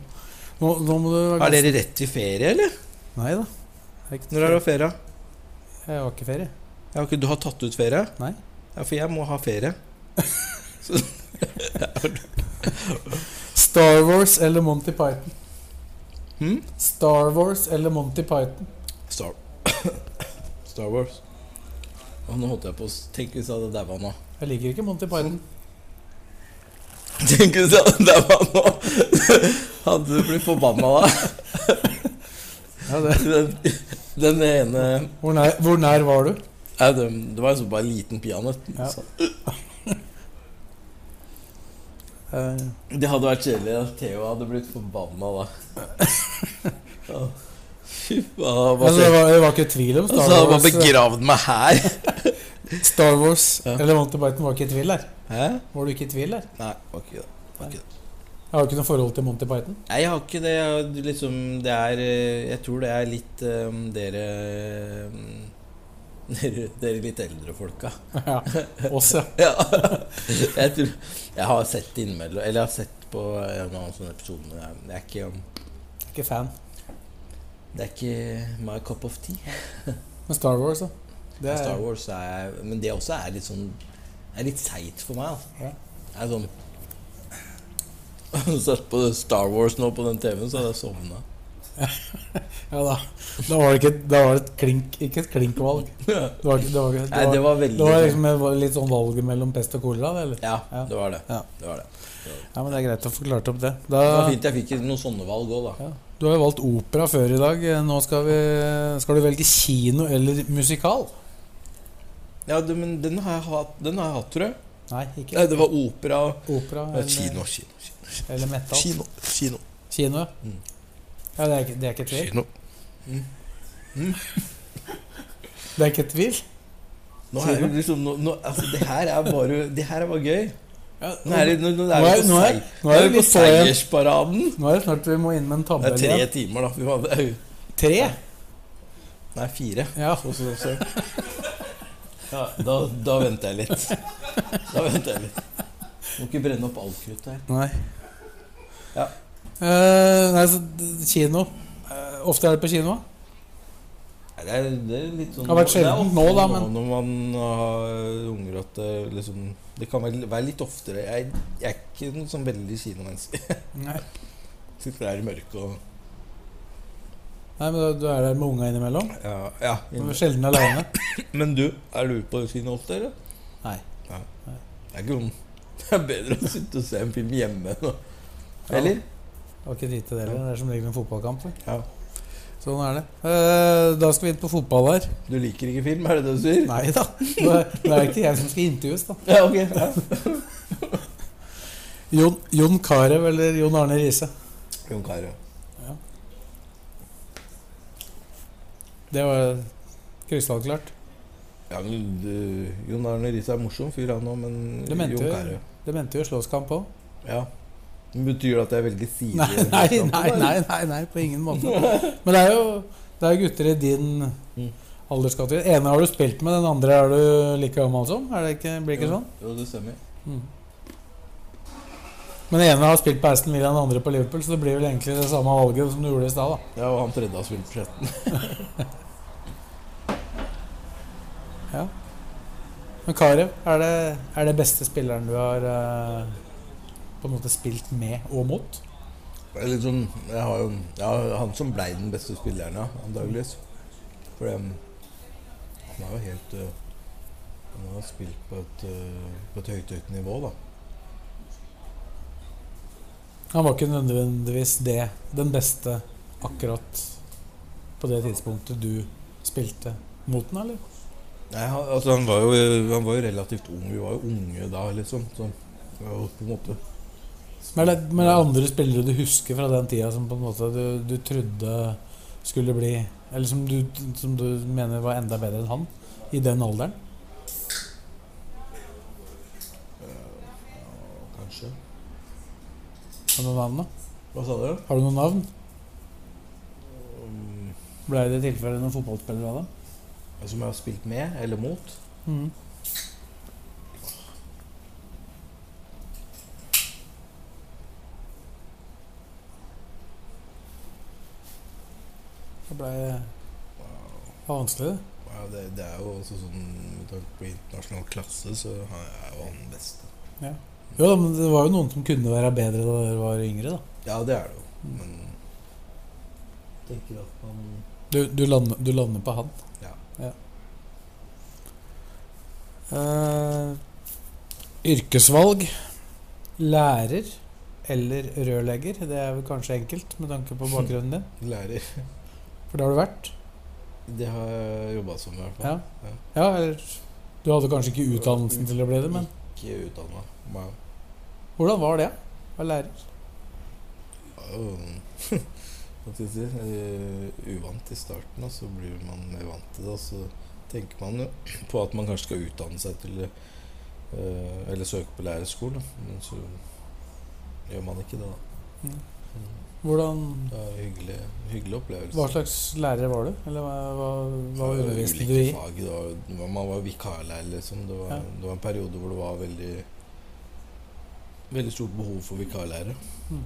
Nå, nå må du være
Er dere rett til ferie, eller?
Nei da. Det er ikke-
Når er det ferie?
Jeg har ikke ferie.
Ja, ok, du har tatt ut ferie?
Nei.
Ja, for jeg må ha ferie.
Star Wars eller Monty Python?
Hmm?
Star Wars eller Monty Python?
Star, Star Wars. Å, nå holdt jeg på å s- Tenk hvis jeg hadde daua nå.
Jeg liker ikke Monty Python.
Tenk hvis jeg hadde daua nå! Hadde du blitt forbanna da?
Ja, det.
Den, den ene
Hvor, nær, hvor nær var du?
Nei, det, det var liksom bare en liten peanøtt.
Ja.
så-
Eh,
Det hadde vært kjedelig. da. Theo hadde blitt forbanna da. Ja. Fy faen. han bare
altså, det,
tenkte-
var, det var ikke tvil om
Og så
Star
hadde han bare
Wars, eh,
begravd meg her.
Star Wars
Ja.
eller Monty Python var ikke i tvil der.
Hæ?
Var du ikke i tvil der?
Nei, var ikke det. Var ikke det.
Jeg har jo ikke noe forhold til Monty Python.
Nei, jeg har ikke det. Jeg, har liksom, det er eh, Jeg tror det er litt eh, dere eh, dere, dere litt eldre folka.
Ja, oss, ja.
Ja. Jeg, tror, jeg har sett det innimellom. Eller jeg har sett på en eller annen sånn episode, men jeg, jeg er ikke
Jeg er Ikke fan.
Det er ikke my cup of tea.
Men Star Wars, da. Det er,
Star Wars er Men det også er litt sånn Det er litt seigt for meg. Altså.
Ja.
Jeg er sånn Har du sett på Star Wars nå på den TV-en, så hadde jeg sovna.
Ja da. Da var det ikke da var det et klink, ikke et klinkvalg. Det var, ikke- det var, ikke-
Nei, det var veldig
det var liksom et val- litt sånn valget mellom pest og kolera, det, eller?
Ja,
Ja.
det var det.
Ja.
det, var det.
Ja, men det er greit å få klart opp det.
det var
Da,
fint jeg fikk noen sånne valg òg, da.
ja. Du har jo valgt opera før i dag. Eh, Nå skal, vi, skal du velge kino eller musikal?
Ja, det, men den har jeg hatt, den har jeg hatt tror jeg.
Nei, ikke
Nei, det var opera
opera
Nei,
eller,
Eh, Kino, kino, kino.
eller metal.
Kino, kino.
Kino, ja.
Mm.
ja det, er ikke, det er ikke tvil. Mm.
kino. Mm.
Det er ikke tvil.
Nå er det liksom nå, nå, altså, Det her er bare Det her er bare gøy. Nå er det, nå, nå
Nå
er
er-
det,
nå
på,
er-
sei-
nå er det
på
på sei-
seiersparaden.
Nå er det snart vi må inn med en
Det
tabell
er tre
igjen.
timer, da. Fy faen, det er jo
Tre?
Nei, fire.
Ja.
Så, så, så. Ja, da, da venter jeg litt. Da venter jeg litt. Må ikke brenne opp alt kruttet her.
Nei.
Ja.
Eh, nei, så d- kino. Eh, ofte er det på kino.
Nei, Det er, det er litt sånn
Det har vært
det er
sjeldent
ofte
nå, da, men-
Når man har unger, at det liksom Det kan vel være litt oftere. Jeg, jeg er ikke noe sånn veldig kinomenneske.
Nei.
Sitter der i mørket og
nei, men du, du er der med unga innimellom.
Ja. ja.
Du er sjelden aleine.
Men du, er du på kino ofte, eller?
Nei.
Det er ikke noen Det er bedre å sitte og se en film hjemme nå. Eller?
Det var ikke tid til det heller. Det er som regel en fotballkamp. det.
Ja.
Sånn er det. Eh, da skal vi inn på fotball her.
Du liker ikke film, er det det du sier?
Nei da. Nå er nå er det ikke jeg som skal intervjues, da.
Ja, ok. Ja.
Jon, Jon Carew eller Jon Arne Riise?
Jon Carew.
Det var krystallklart.
Ja, men du, Jon Arne Riise er morsom fyr, han òg, men
Det mente
Jon
jo-
Carew
Det mente jo slåsskamp òg.
Ja. Men betyr det at jeg velger side? Sånn. i
Nei, nei,
den kampen,
nei,
eller?
nei, nei, nei, på ingen måte. Men det er jo det er jo gutter i din
Mm.
alderskategori. Den ene har du spilt med, den andre er du like gammel som. Er det ikke, blir ikke
Jo,
sånn?
Jo, det stemmer.
Mm. Men den ene har spilt på Aston Villa, den andre på Liverpool, så det blir vel egentlig det samme valget som du gjorde i stad. da.
Ja, og han tredje har spilt for 13.
Men Carew, er det, er det beste spilleren du har eh, på en måte spilt med og mot?
Det er litt sånn, jeg har jo ja, han som blei den beste spilleren, ja, antakeligvis. For um, han er jo helt øh, Han har spilt på et, øh, på et høyt, høyt nivå, da.
Han var ikke nødvendigvis det, den beste akkurat på det tidspunktet du spilte mot den, eller?
Nei, han, altså, han, var jo, han var jo relativt ung. Vi var jo unge da, liksom. Så det var jo på en måte
Men er det, men er det andre spillere du husker fra den tida som på en måte du, du trodde skulle bli Eller som du, som du mener var enda bedre enn han i den alderen?
Kanskje.
Har du noen navn? da?
Hva sa du?
Har du noen navn?
Um,
Ble det i tilfelle noen fotballspillere av dem?
som altså, jeg har spilt med, eller mot?
Mhm. Det ble det var vanskelig, det.
Ja, det, det er jo også sånn Med tanke på internasjonal klasse, så han er jo han beste.
Jo da, men det var jo noen som kunne være bedre da dere var yngre, da.
Ja, det er det jo. Men tenker at man
Du, du, lander, du lander på han?
Ja.
Eh, yrkesvalg. Lærer eller rørlegger. Det er vel kanskje enkelt med tanke på bakgrunnen din.
lærer.
For det har du vært.
Det har jeg jobba som, i hvert fall.
Ja. Ja, eller Du hadde kanskje ikke utdannelsen til å bli det, men
Ikke utdanna. Men
hvordan var det å være lærer?
Øhm, øh, Hva skal jeg si eh, Uvant i starten, og så blir man mer vant til det. Og så tenker man jo på at man kanskje skal utdanne seg til eh, Eller søke på lærerskole, men så gjør man ikke det, da.
Hvordan,
Det er en hyggelig, hyggelig opplevelse.
hva slags lærer var du? Eller hva, hva, hva
Det var
underviste du
ulike
i?
Fag, det var, det var- man var vikarlærer, liksom. Det var,
Ja.
det var en periode hvor det var veldig Veldig stort behov for vikarlærere.
Mm.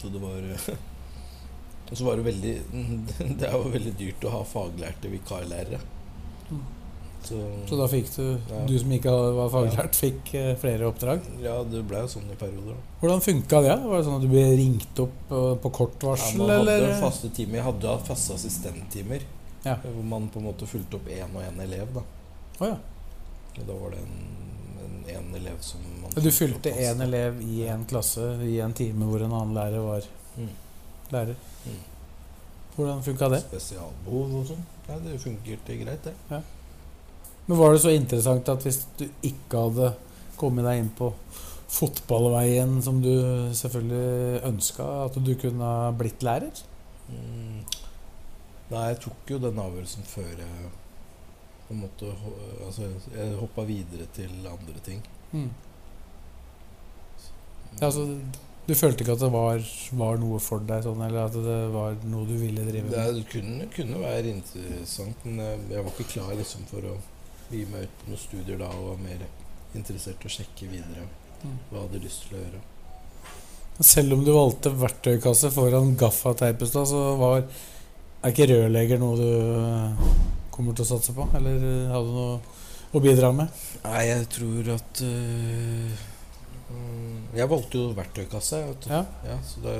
Så det var Og så var det veldig Det er jo veldig dyrt å ha faglærte vikarlærere.
Mm.
Så,
Så da fikk du,
Ja.
du som ikke var faglært, fikk eh, flere oppdrag?
Ja, det ble jo sånn i perioder, da.
Hvordan funka det? Var det sånn at du ble ringt opp eh, på kort
Ja,
varsel,
man hadde
eller?
jo faste timer. Jeg hadde da faste assistenttimer.
Ja.
Hvor man på en måte fulgte opp én og én elev, da.
Å ja.
Og da var det en, en, en elev som man
Du
fulgte
fulgte
opp fast.
én elev i en klasse i en time hvor en annen lærer var
Mm.
lærer.
Mm.
Hvordan funka det?
Spesialbehov og sånn. Nei, det fungerte greit, det.
Men var det så interessant at hvis du ikke hadde kommet deg inn på fotballveien som du selvfølgelig ønska, at du kunne ha blitt lærer?
Mm. Nei, jeg tok jo den avgjørelsen før jeg på en måte ho- Altså, jeg hoppa videre til andre ting.
Mm. Ja, altså, du følte ikke at det var, var noe for deg, sånn, eller at det var noe du ville drive
Det
med?
er- kunne, kunne være interessant, men jeg, jeg var ikke klar liksom, for å gi meg ut på noen studier da og var mer interessert i å sjekke videre
Mm.
hva jeg hadde lyst til å gjøre.
Selv om du valgte verktøykasse foran gaffateip i stad, så var Er ikke rørlegger noe du øh, kommer til å satse på? Eller øh, hadde du noe å bidra med?
Nei, jeg tror at øh, mm, Jeg valgte jo verktøykasse. Vet du.
Ja.
Ja, så da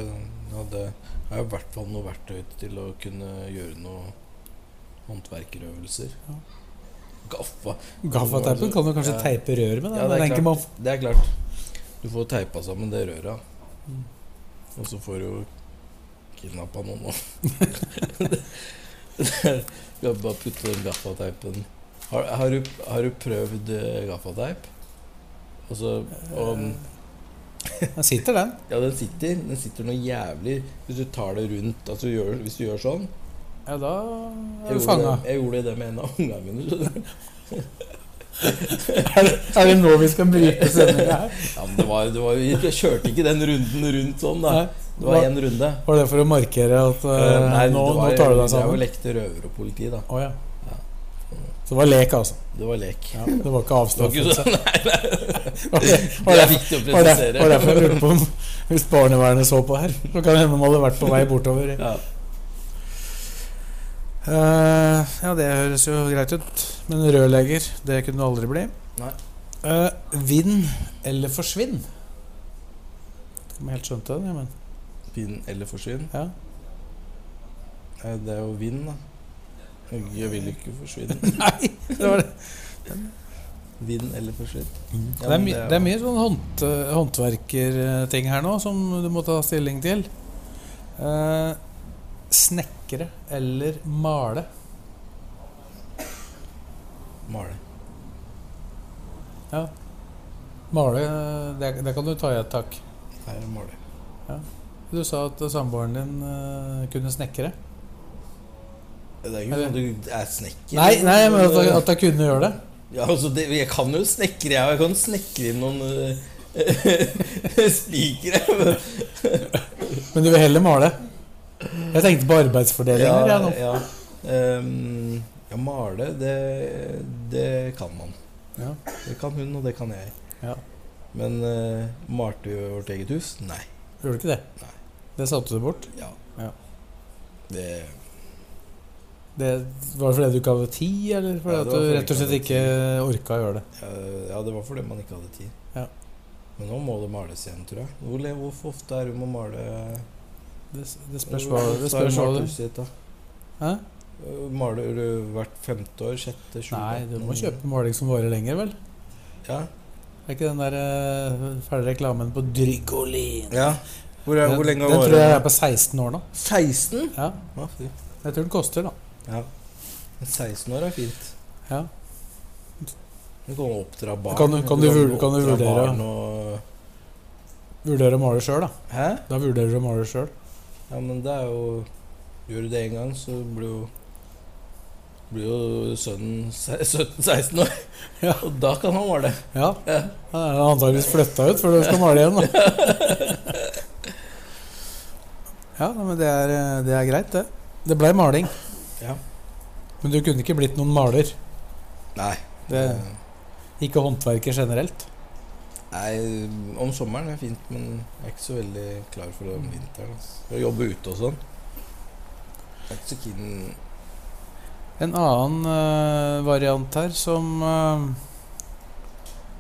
hadde jeg har i hvert fall noe verktøy til å kunne gjøre noen håndverkerøvelser.
Ja.
Gaffa.
Gaffateipen kan du kanskje
Ja.
teipe rør med? Da,
Ja, det
men
er,
tenker man-
klart, det er klart. Du får teipa sammen det røret.
Mm.
Og så får du jo kidnappa noen nå. Skal bare putte den gaffateipen har, har, du, har du prøvd eh, gaffateip? Og så og,
Der sitter den.
Ja, den sitter. Den sitter noe jævlig hvis du tar det rundt. Altså, gjør, hvis du gjør sånn
Ja, da
Jeg
er du
gjorde,
fanga.
det, jeg gjorde det med en av ungene mine. skjønner du.
Er, det- er det nå vi skal bryte sendinga her?
Ja, men det var, det var, jeg kjørte ikke den runden rundt sånn, da.
Nei.
Det var én runde.
Var det for å markere at øh,
Eh, nei,
nå,
det var-
nå tar du deg
Jeg var
sammen?
lekte røver og politi, da.
Å ja.
Ja.
Så det var lek, altså?
Det var lek.
Ja, det var ikke
Det var ikke
avstraffelse?
sånn, nei, nei.
Var det, var det
Det er viktig å
Var det var derfor jeg
presisere.
lurte på om Hvis barnevernet så på her, så kan det hende de hadde vært på vei bortover.
Ja.
Eh, ja, det høres jo greit ut. Men rørlegger, det kunne du aldri bli.
Nei.
Eh, vinn eller forsvinn? Om jeg helt skjønte den, jeg, men
Vinn eller forsvinn?
ja.
Nei, det er jo vinn, da. Jeg vil ikke forsvinne.
Nei, det var det.
Vinn eller forsvinn. Ja,
det, er
men
mye, det er mye sånn hånd, håndverkerting her nå som du må ta stilling til. Eh, snekre eller male?
Male.
Male, det, det kan du ta i et tak.
Her er male.
Du sa at samboeren din eh, kunne snekre.
Det er ikke sånn at du er snekker.
Nei, nei, men altså, at, at jeg kunne gjøre det.
Ja, altså, det, jeg kan jo snekre, jeg. Jeg kan snekre inn noen eh, spikere. men-
Men du vil heller male. Jeg tenkte på arbeidsfordelinger. jeg, nå.
ja. Ehm, ja, male, det, det kan man.
Ja.
Det kan hun, og det kan jeg.
Ja.
Men eh, malte vi vårt eget hus? Nei.
Gjorde du ikke det?
Nei.
Det satte du bort.
Ja.
Ja.
Det,
Det var det fordi du ikke hadde tid, eller fordi
Ja, det
at
var
du
fordi jeg
rett
ikke
og slett
hadde
ikke orka å gjøre det?
eh, ja, det var fordi man ikke hadde tid.
Ja.
Men nå må det males igjen, tror jeg. Hvor, le- hvor ofte er det hun må male
Det, det spørs hva det spørs hva du
du
Hæ?
Eh, Maler du hvert femte år? Sjette, sjuende?
Nei, du må
åttende?
kjøpe maling som varer lenger, vel?
Ja.
Er ikke den der eh, ferdige reklamen på Drygolin
ja. Hvor, er,
Den,
hvor
den
lenge var
tror jeg er på 16 år nå.
16?
Ja,
Ja, fy.
jeg tror den koster, da.
ja. Men 16 år er fint.
Ja.
Du kan oppdra barn.
Kan du- kan du vur- kan du
oppdra
vurdere?
barn og...
Vurderer å male sjøl, da.
Hæ?
Da vurderer du å male sjøl.
Ja, men det er jo Gjør du det én gang, så blir jo blir jo sønnen se- 17-16 år.
Ja.
Og da kan han male.
Ja. Da er den antakeligvis flytta ut før du skal male igjen, da. Ja, nei, men det er, eh, det er greit, det. Det blei maling.
Ja.
Men du kunne ikke blitt noen maler.
Nei.
Det, ikke håndverker generelt.
Nei, om sommeren er fint, men jeg er ikke så veldig klar for det om vinteren. Altså. Å jobbe ute og sånn. Jeg er ikke så keen
En annen eh, variant her som eh,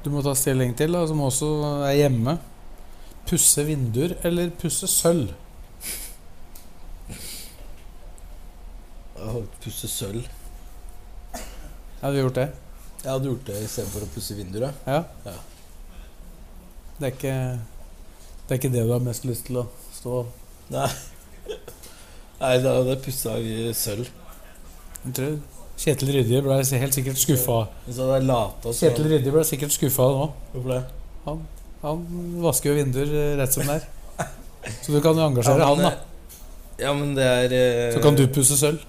du må ta stilling til, da, som også er hjemme. Pusse vinduer eller pusse sølv?
å pusse sølv.
Jeg hadde gjort det.
Jeg hadde gjort det istedenfor å pusse vinduer. ja.
Ja.
Ja.
Det, er ikke, det er ikke det du har mest lyst til å stå
Nei, da hadde jeg pussa i sølv.
Jeg tror Kjetil Rydje ble s- helt sikkert skuffa.
Men så hadde jeg lata som.
Kjetil Rydje ble sikkert skuffa nå.
Hvorfor det?
Han vasker jo vinduer eh, rett som det er. Så du kan jo engasjere han, da.
Ja, men det er eh,
Så kan du pusse sølv.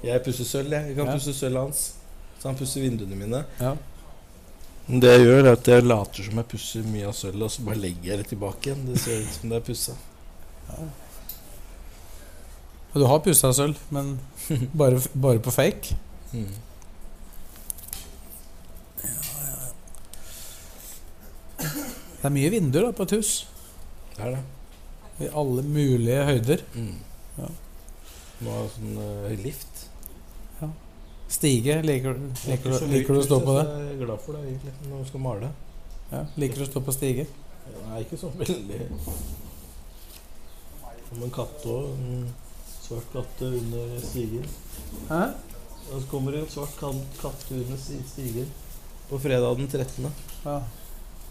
Jeg pusser sølv, jeg. Jeg kan
Ja.
pusse sølvet hans. Så han pusser vinduene mine.
Ja.
Men Det jeg gjør, er at jeg later som jeg pusser mye av sølvet, og så bare legger jeg det tilbake igjen. Det ser ut som det er pussa.
Og du har pussa sølv, men bare, f- bare på fake.
Mm.
Det er mye vinduer da på et hus.
Det er det.
I alle mulige høyder.
Mm.
Ja.
Må ha sånn eh, lift.
Stige. Liker, liker, du- liker du å stå på det?
Jeg er glad for det, egentlig, når du skal male.
Ja, liker du å stå på stige?
Nei, ikke sånn veldig Som en katt òg. En svart katte under stigen.
Hæ?
Og så kommer det en svart kan- katt under sti- stigen på fredag den 13.
Ja.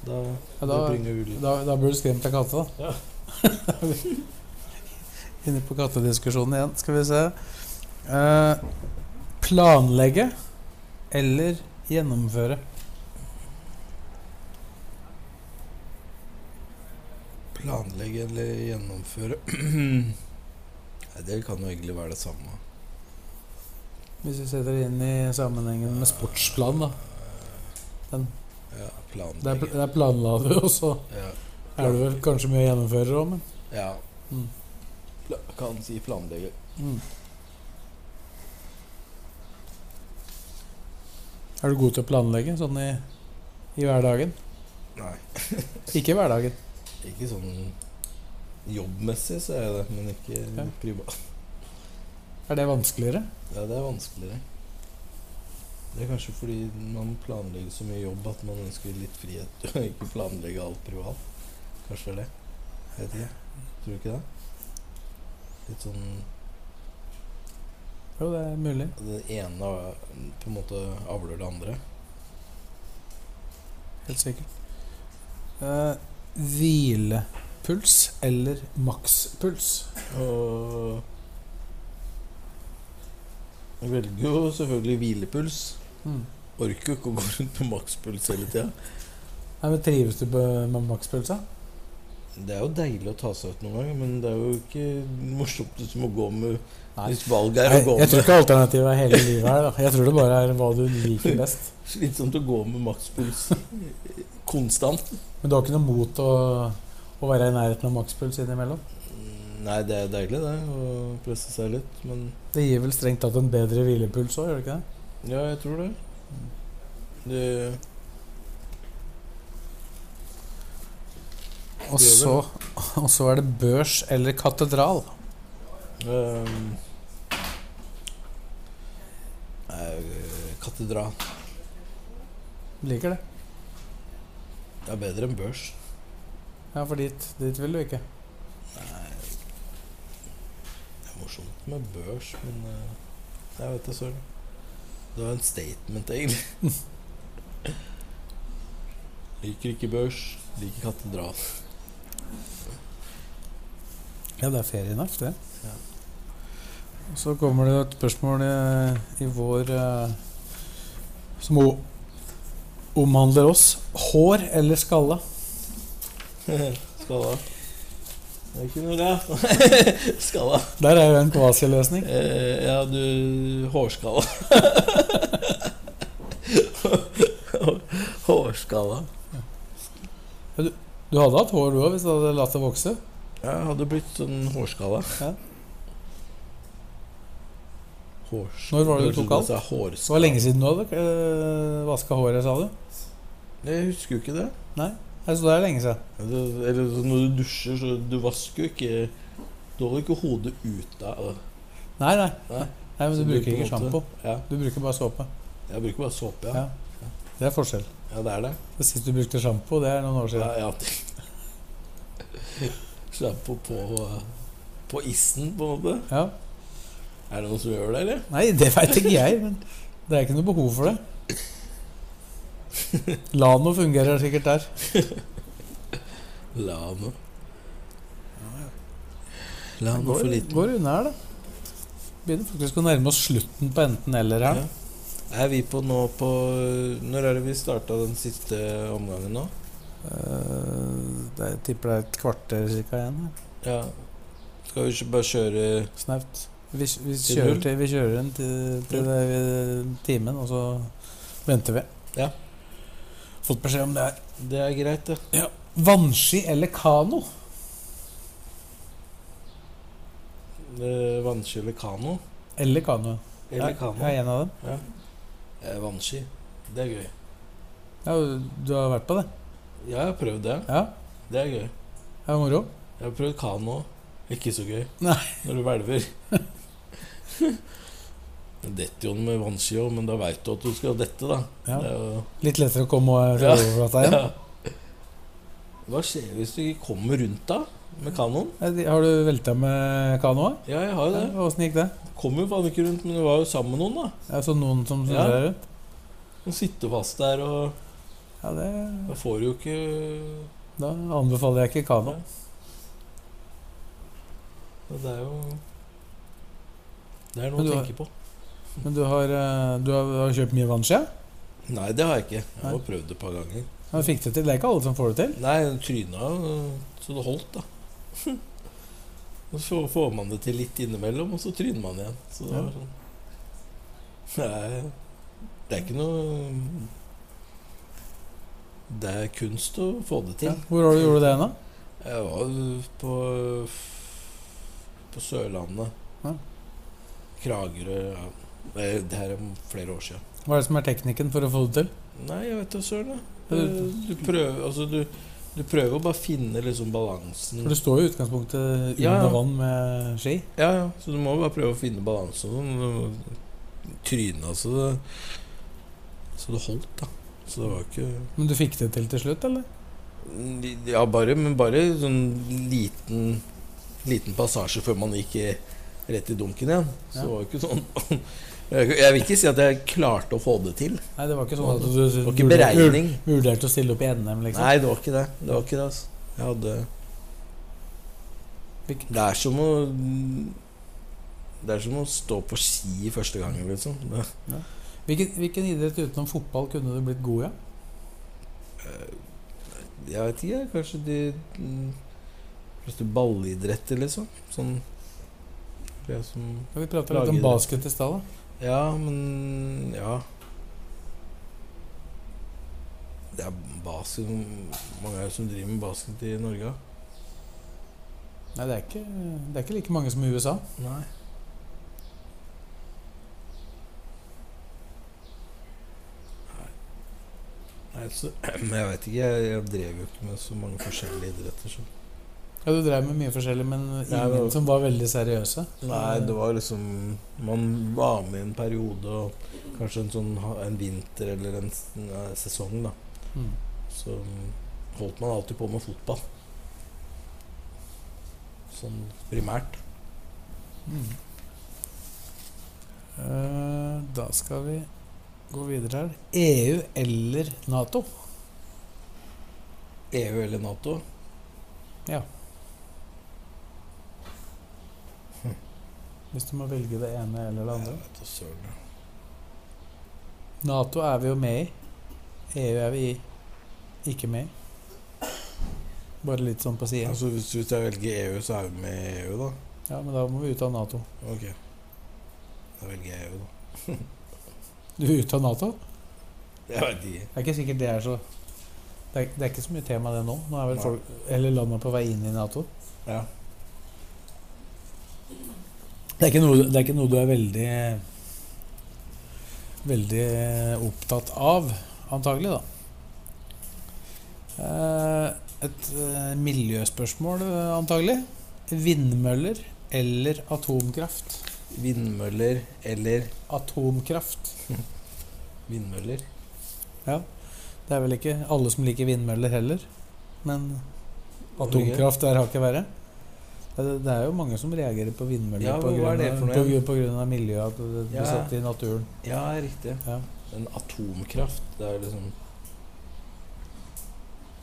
Da,
Ja,
da
da,
bringer julen.
da, da burde du skremt av katta, da.
Ja.
Inne på kattediskusjonen igjen. Skal vi se. Eh, planlegge eller gjennomføre?
Planlegge eller gjennomføre Nei, Det kan jo egentlig være det samme.
Hvis vi setter det inn i sammenhengen med sportsplan, da.
Ja,
Der, pl-
planlegge.
der planla du, og så
Ja.
er det vel kanskje mye å gjennomføre òg, men
ja.
Mm.
Pla kan si planlegge.
mm. Er du god til å planlegge sånn i, i hverdagen?
Nei.
Ikke i hverdagen.
Ikke sånn jobbmessig, så er jeg det, men ikke
Ja.
privat.
Er det vanskeligere?
Ja, det er vanskeligere. Det er kanskje fordi man planlegger så mye jobb at man ønsker litt frihet og ikke planlegge alt privat. Kanskje det er det. Jeg vet ikke. Tror du ikke det? Litt sånn
Jo, det er mulig.
Det ene på en måte avler det andre.
Helt sikkert. Eh, hvilepuls eller makspuls?
Og jeg velger jo selvfølgelig hvilepuls.
Mm.
Orker jo ikke å gå rundt med makspuls hele tida.
Nei, men Trives du på- med makspuls? da?
Det er jo deilig å ta seg ut noen ganger, men det er jo ikke morsomt hvis du må gå med
Nei.
Hvis valget er å
Jeg,
gå
jeg tror
med
ikke alternativet er hele livet her. da Jeg tror det bare er hva du liker best.
Slitsomt å gå med makspuls konstant.
Men du har ikke noe mot å, å være i nærheten av makspuls innimellom?
Nei, det er deilig, det, å presse seg litt, men
Det gir vel strengt tatt en bedre hvilepuls òg, gjør det ikke det?
Ja, jeg tror det. Det
Og
Det gjør
så, og så er det børs eller katedral.
ehm, Nei, katedral.
Liker det.
Det er bedre enn børs.
Ja, for dit, dit vil du ikke.
morsomt med børs, men eh, jeg vet det søren. Det var en statement, egentlig. liker ikke børs, liker katedral.
Ja, det er ferie i natt, det.
Ja.
Og Så kommer det et spørsmål eh, i vår eh, som o- omhandler oss. Hår eller skalle?
Skalla. Det er ikke noe det. Skalla.
Der er jo en kvasiløsning.
Eh, ja, du Hårskalla. Hårskalla.
Du hadde hatt hår du òg hvis du hadde latt det vokse.
Jeg hadde blitt sånn hårskalla.
Ja.
Hårs...
Når var det du tok alt?
Det
Så det var lenge siden du hadde øh, vaska håret, sa du?
Jeg husker jo ikke det. Altså,
Nei, så det er lenge siden.
Eller, eller så når du dusjer, så du vasker jo ikke Du holder ikke hodet ut av
Nei, nei.
Nei.
nei men du
Så du på
bruker
en
ikke
måte-
sjampo.
Ja.
Du bruker bare såpe.
Jeg bruker bare såpe,
Ja.
ja.
Det er forskjell.
Ja, det er det.
Det sist du brukte sjampo, det er noen år
Ja,
siden.
ja. Slapp på, på på isen, på en måte.
Ja.
Er det noen som gjør det, eller?
Nei, det veit ikke jeg, men det er ikke noe behov for det. Lano fungerer sikkert der.
La nå. La nå
Går,
for liten.
går unna her, da. Begynner faktisk å nærme oss slutten på enten-eller her.
Ja. Er vi på nå på Når er det vi starta den siste omgangen nå?
Øh, det- jeg tipper det er et kvarter cirka igjen. ja.
Ja. Skal vi ikke bare kjøre
Snaut. Vi, vi,
Til
kjører
null?
til, vi kjører den til, til det, vi- timen, og så venter vi.
Ja.
Fått beskjed om det her.
Det er greit, det.
Vannski eller kano?
Eh, Vannski eller kano?
Eller kano.
Eller
Jeg,
kano?
jeg er en av dem.
Eh, Vannski. Det er gøy.
Ja, du har vært på det?
Ja, jeg har prøvd det.
Ja.
Det er gøy.
Det er moro.
Jeg har prøvd kano. Ikke så gøy.
Nei.
Når du hvelver. Det detter jo med vannski òg, men da veit du at du skal dette, da.
Ja.
Det er jo
Litt lettere å komme fra
Ja.
overflata igjen.
Hva skjer hvis du ikke kommer rundt da med kanoen?
Eh, Har du velta med kanoa?
Ja, jeg har jo det.
Åssen gikk det?
Kommer jo faen ikke rundt, men du var jo sammen med noen, da.
Ja, så sånn noen som
Ja.
snurrer rundt?
Du sitter fast der, og
Ja, det,
da får du jo ikke
da anbefaler jeg ikke kano.
Det er jo Det er noe
Men
å
du har-
tenke på.
Men du har, eh, du har, du har kjøpt mye vannski? ja?
Nei, det har jeg ikke. Jeg
Nei.
har prøvd det et par ganger.
Ja, Fikk du til? Det er ikke alle som får det til.
Nei, den tryna øh, så det holdt, da. Og så får man det til litt innimellom, og så tryner man igjen. Så det
Ja.
var sånn Nei, det er ikke noe Det er kunst å få det til.
Ja. Hvor har du gjort det hen, da?
Jeg var øh, på På Sørlandet.
Ja.
Kragerø ja. Det det her er flere år siden.
Hva er det som er teknikken for å få det til?
Nei, jeg vet da søren. jeg.
Du-
Du prøver altså du, du prøver å bare finne liksom balansen.
For du står jo i utgangspunktet under
Ja, ja.
vann med ski.
Ja, ja. Så du må bare prøve å finne balanse og sånn. Du Tryna så det Så det holdt, da. Så det var ikke
Men du fikk det til til slutt, eller?
Ja, bare, men bare sånn liten Liten passasje før man gikk i- rett i dunken igjen. Så
Ja.
det var ikke sånn Jeg jeg vil ikke si at jeg klarte å få det til.
Nei, det var ikke sånn at du det
Det var ikke beregning.
vurderte å stille opp i NM, liksom?
Nei, det var ikke det. Det var ikke det, altså. Jeg hadde
Fikk-
Det er som å Det er som å stå på ski første gangen, liksom. Det,
Hvilken, hvilken idrett utenom fotball kunne du blitt god i? Ja?
Jeg vet ikke, jeg. kanskje de mm, Kanskje de ballidretter, liksom. Sånn det som
Kan vi prate litt om
Lagidrett.
basket i stad, da?
Ja, men Ja. Det er basket Mange er det som driver med basket i Norge?
Nei, det er, ikke, det er ikke like mange som i USA.
Nei. Nei, så, jeg vet ikke. Jeg, jeg drev jo ikke med så mange forskjellige idretter. Så.
Ja, Du drev med mye forskjellig, men
Nei,
ingen
det-
som var veldig seriøse.
Nei, det var liksom Man var med i en periode, og kanskje en sånn ha- en vinter eller en s- eh, sesong, da.
Mm.
Så holdt man alltid på med fotball. Sånn primært.
Mm. Eh, Da skal vi gå videre her. EU eller Nato?
EU E eller Nato?
Hvis du må velge det ene eller det andre.
Jeg vet da søren.
Nato er vi jo med i. EU er vi i. ikke med i. Bare litt sånn på siden.
Altså, hvis, hvis jeg velger EU, så er vi med i EU, da.
Ja, men da må vi ut av Nato.
Ok. Da velger jeg EU, da.
Du er ute av Nato?
Jeg vet ikke.
Det er ikke sikkert det er så Det er, det er ikke så mye tema det nå. Nå er vel
Nei.
folk, eller landa på vei inn i Nato.
Ja.
Det er ikke noe, det er ikke noe du er veldig Veldig opptatt av, antagelig, da. Eh, Et eh, miljøspørsmål, eh, antagelig. Vindmøller eller atomkraft?
Vindmøller eller
Atomkraft.
vindmøller?
Det er vel ikke alle som liker vindmøller heller, men
Hvorfor ikke?
atomkraft der har ikke verre. Det er- det er jo mange som reagerer på vindmøller
Ja,
på,
hva er
grunn
det
av,
for noe
på,
igjen?
grunn- på grunn av miljøet, at det blir
Ja.
satt i naturen.
Ja, riktig.
Ja.
Men atomkraft, det er liksom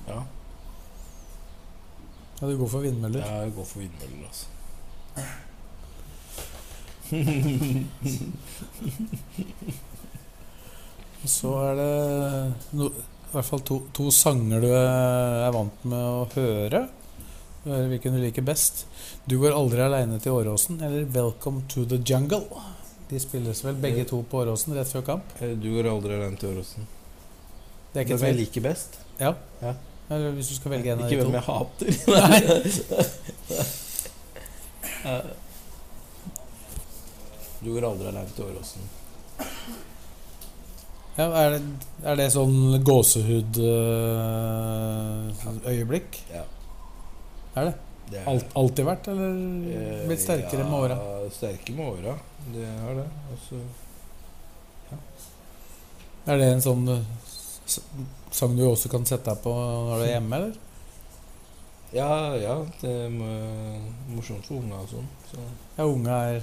Ja,
Ja, du går for vindmøller.
jeg går for vindmøller, altså.
Og Så er det no, i hvert fall to, to sanger du er vant med å høre. Du hører Hvilken du liker best. 'Du går aldri aleine til Åråsen' eller 'Welcome to the Jungle'. De spilles vel begge to på Åråsen rett før kamp.
Eh, Du går aldri alene til Åråsen.
Det er ikke et
Den jeg
vel-
liker best?
Eller hvis du skal velge en av de
Ikke
to.
hvem jeg hater. Nei. du går aldri alene til Åråsen.
Ja, er, det, er det sånn eh, gåsehudøyeblikk?
Ja.
Er det?
Det er-
Alt, alltid vært, eller blitt sterkere med åra?
Eh, Ja, sterkere med åra. Det har det. Altså,
Er det en sånn eh, s- sang du også kan sette deg på når du er hjemme, eller?
ja, ja, det er mo- morsomt for unga og sånn. Så
Ja, unge er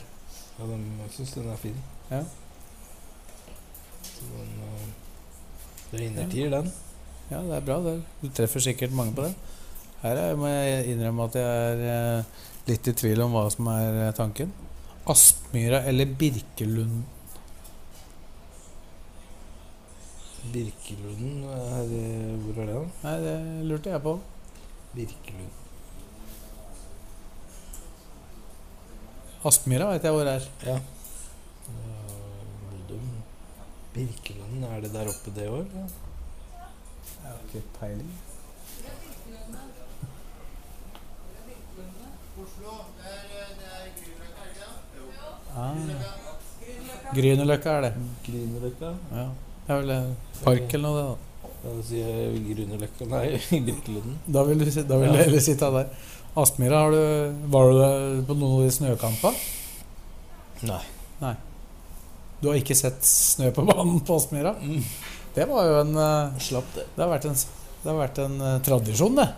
ja, de syns den er fin.
Ja.
Så den, eh, det er innertier, den.
Ja, det er bra. Det. Du treffer sikkert mange på det. Her er, må jeg innrømme at jeg er eh, litt i tvil om hva som er eh, tanken. Aspmyra eller Birkelund?
Birkelunden er eh, Hvor er det, da?
Nei, det lurte jeg på.
Birkelund.
Aspmyra vet jeg hvor er.
Ja. Eh, Modum. Birkelunden, er det der oppe det år? Ja.
Ikke peiling. Ah. Grünerløkka er det.
Grünerløkka?
Ja. Det er vel en park eller noe, det.
Da sier jeg Grünerløkka. Nei, Birkelunden.
Da Da vil du, si- da vil du
Ja.
heller sitte der. Aspmyra, har du, var du der på noen av de snøkampene?
Nei.
Du har ikke sett snø på banen på Aspmyra? Det var jo en eh,
Mm. Slapp det.
Det har vært en, s- det har vært en eh, tradisjon, det.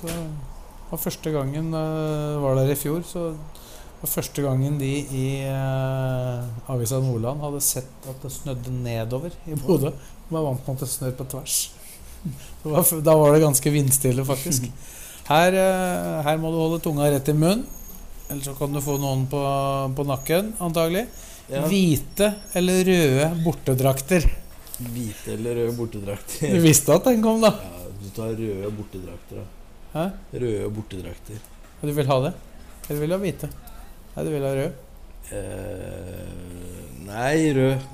Så, det var første gangen eh, var der i fjor, så det var første gangen de i eh, Avisa Nordland hadde sett at det snødde nedover i
Mm.
Bodø. De var vant med at det snør på tvers. Det var, f- da var det ganske vindstille, faktisk. Her, eh, her må du holde tunga rett i munnen, ellers så kan du få noen på, på nakken, antagelig.
Ja.
Hvite eller røde bortedrakter.
Hvite eller røde bortedrakter?
Du visste at den kom, da.
Ja, du tar røde bortedrakter, da.
Hæ?
Røde bortedrakter.
Og du vil ha det? Eller vil du ha hvite? Nei, du vil ha rød.
Eh, nei, rød.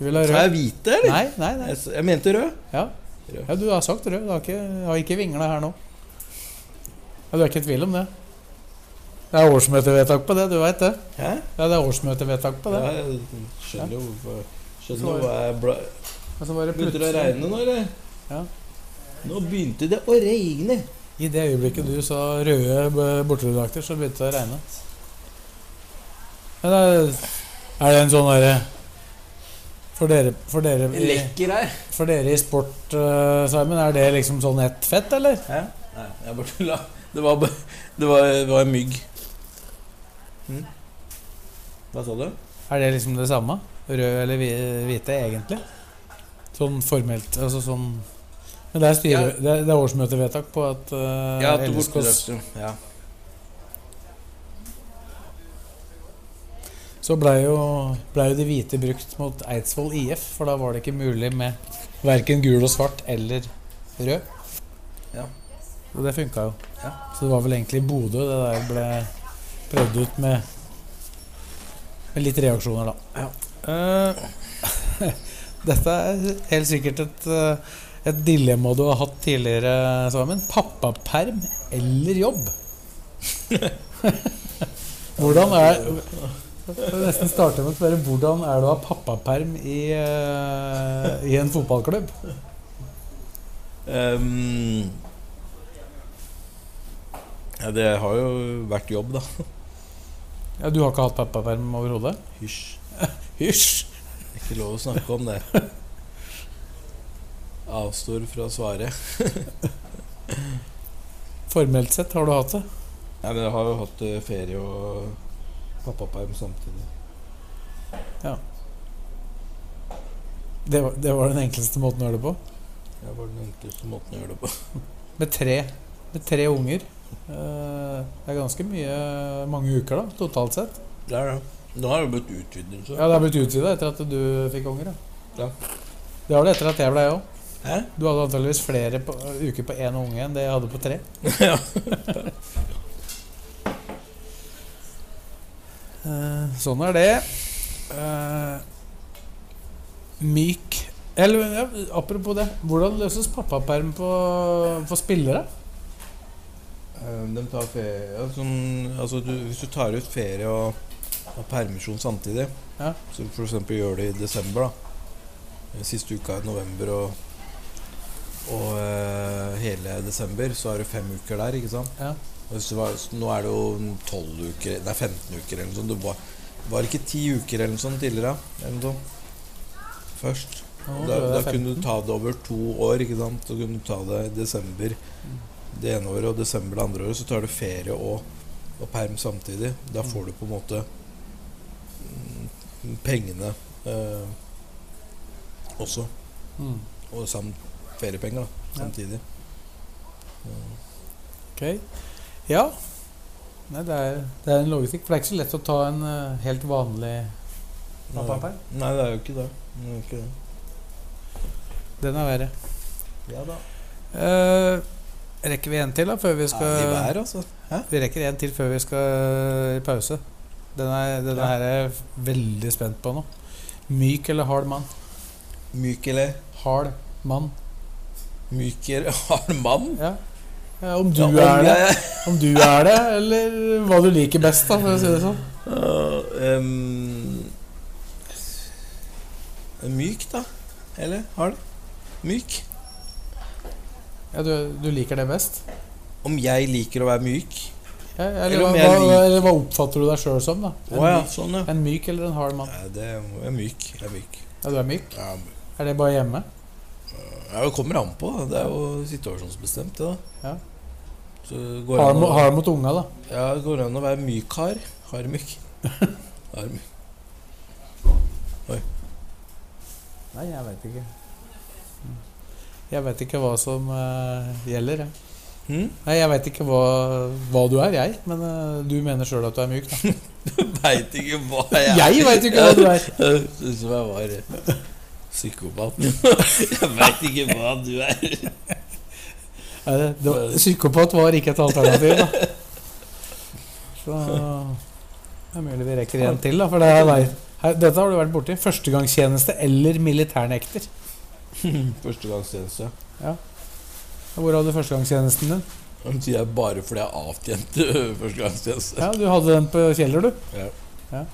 Du vil ha
Sa jeg
rød.
hvite, eller?
Nei, nei, nei.
Jeg, s- jeg mente rød.
Ja.
Rød.
ja, du har sagt rød. Du har ikke, har ikke vingla her nå. Ja, Du er ikke i tvil om det? Det er årsmøtevedtak på det, du veit det?
Hæ?
Ja, det er årsmøtevedtak på det.
Ja, jeg skjønner jo hvorfor Skjønner jo hva jeg bla...
Men så var det
Begynte det
plutselig
å regne nå, eller?
Ja.
Nå begynte det å regne.
I det øyeblikket du sa røde b- bortedrakter, så begynte det å regne. Men det er- er det en sånn derre For dere, for dere
her.
For dere i sport, eh, Simon, er det liksom sånn ett fett, eller?
Hæ? Nei, jeg bare tulla. Det var bare Det var, det var en mygg. Hm? Hva sa du?
Er det liksom det samme? Rød eller hvi- hvite, egentlig? Sånn formelt altså sånn Men det er, styre, det er, det er årsmøtevedtak på at eh,
Ja, til
LSKs
bortedrøfte. Ja.
Så blei jo, ble jo de hvite brukt mot Eidsvoll IF, for da var det ikke mulig med verken gul og svart eller rød.
Ja.
Og det funka jo.
Ja.
Så det var vel egentlig i Bodø det der ble prøvd ut med, med litt reaksjoner, da. Eh, dette er helt sikkert et, eh, et dilemma du har hatt tidligere, Samen. Pappaperm eller jobb? Hvordan er, jeg vil nesten starte med å spørre Hvordan er det å ha pappaperm i, eh, i en fotballklubb?
Ehm, ja, det har jo vært jobb, da.
Ja, du har ikke hatt pappaperm overhodet?
Hysj.
Hysj!
Det er ikke lov å snakke om det. Avstår fra å svare.
Formelt sett har du hatt det.
Nei, men jeg har jo hatt eh, ferie og pappaperm samtidig.
Det var, det var den enkleste måten å gjøre det på.
Det var den enkleste måten å gjøre det på.
Med tre, med tre unger. Eh, Det er ganske mye, mange uker da, totalt sett.
Det er det. Nå har det blitt utvidelse.
Ja, Det har blitt utvida etter at du fikk unger.
Ja.
Det har det etter at jeg ble òg.
Hæ?
Du hadde antakeligvis flere på, uker på én unge enn det jeg hadde på tre.
Ja.
Eh, sånn er det. Eh, myk Eller ja, apropos det. Hvordan løses pappaperm på, for spillere?
Eh, De tar ferie ja, sånn, altså du, Hvis du tar ut ferie og, og permisjon samtidig,
Ja.
så for eksempel gjør det i desember, da. Eh, Siste uka i november og, og eh, hele desember, så er det fem uker der, ikke sant?
Ja.
Og hvis det var, så nå er det jo 12 uker, nei 15 uker eller noe sånt. Det var, var ikke 10 uker eller noe sånt tidligere? Eller noe sånt. Først.
Nå tror
Da,
jeg det
da
er
kunne du
15.
ta det over to år. ikke sant? Så kunne du ta det i desember
Mm.
det ene året og desember det andre året. Så tar du ferie og, og perm samtidig. Da får du på en måte mm, pengene eh, også.
Mm.
Og samt feriepenger da,
Ja.
samtidig.
Ok. Ja. Nei, det er, det er en logistikk. For det er ikke så lett å ta en eh, helt vanlig pappaperm.
Nei, det er jo ikke det. det, er jo ikke det.
Den er verre.
Ja da.
Eh, rekker vi en til da, før vi skal
Ærlig vær, altså.
Vi rekker en til før vi skal i pause. Den er, denne
Ja.
her er jeg veldig spent på nå. Myk eller hard mann?
Myk eller
Hard mann.
myk eller hard mann?
Ja. Ja, om, du
Ja, om
er det,
jeg-
om du er det, eller hva du liker best, da, for å si det sånn.
Ja, ehm, myk, da. Eller hard? Myk.
Ja, du, du liker det best?
Om jeg liker å være myk?
Ja, eller,
Eller om
hva,
jeg
hva,
liker-
eller hva oppfatter du deg sjøl som? da? En,
Å ja,
myk,
sånn, ja.
en myk eller en hard mann?
Nei, det er myk. Jeg er myk.
Ja, du er myk?
Ja,
Er det bare hjemme?
det kommer an på. da. Det er jo situasjonsbestemt, det, da.
Ja.
Så det går
Hard,
an
mo-
å,
hard mot unga, da.
ja, det går an å være myk-hard. Hard-myk. Hard-myk.
Nei, jeg veit ikke. Mm. Jeg veit ikke hva som eh, gjelder, jeg.
Hm?
Nei, jeg veit ikke hva, hva du er, jeg. Men eh, du mener sjøl at du er myk, da.
Veit ikke hva jeg er.
Jeg vet jo ikke hva du er.
Jeg syns jeg var eh, psykopat. Jeg veit ikke hva du er.
Nei, det- det var, psykopat var ikke et alternativ, da. Så det er mulig vi rekker en til, da. For det er vei. Her, dette har du vært borti. Førstegangstjeneste eller militærnekter.
Førstegangstjeneste.
Hvor hadde du førstegangstjenesten din?
Han sier jeg bare fordi jeg har avtjent øh, førstegangstjeneste.
Ja, Du hadde den på Kjeller, du.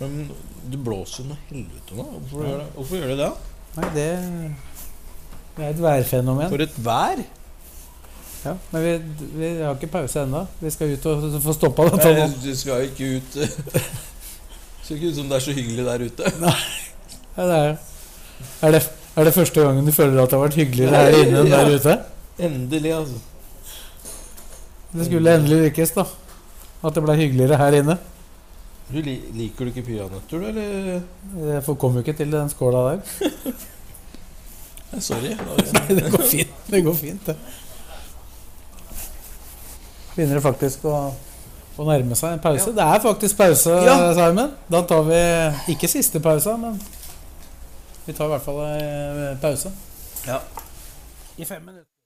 Men det blåser noe helvete nå. Hvorfor gjør det Hvorfor gjør det? det?
Nei, det, det er et værfenomen.
For et vær!
Ja, men vi, vi har ikke pause ennå. Vi skal ut og få stoppa dette nå.
Nei, Du skal jo ikke ut øh. Ser ikke ut som det er så hyggelig der ute.
Ja, det er, er, det, er det første gangen du føler at det har vært hyggeligere her inne enn der ute?
Endelig, altså.
Det skulle endelig lykkes, da. At det ble hyggeligere her inne.
Du li- Liker du ikke peanøtter, du, eller?
Jeg får- kom jo ikke til den skåla der.
Eh, Sorry. da-
Det går fint, det. går fint det. Begynner det faktisk å, å nærme seg en pause. Det er faktisk pause,
Ja.
Simon. Da tar vi ikke siste pausa, men vi tar i hvert fall en pause.
Ja.
I fem minutter.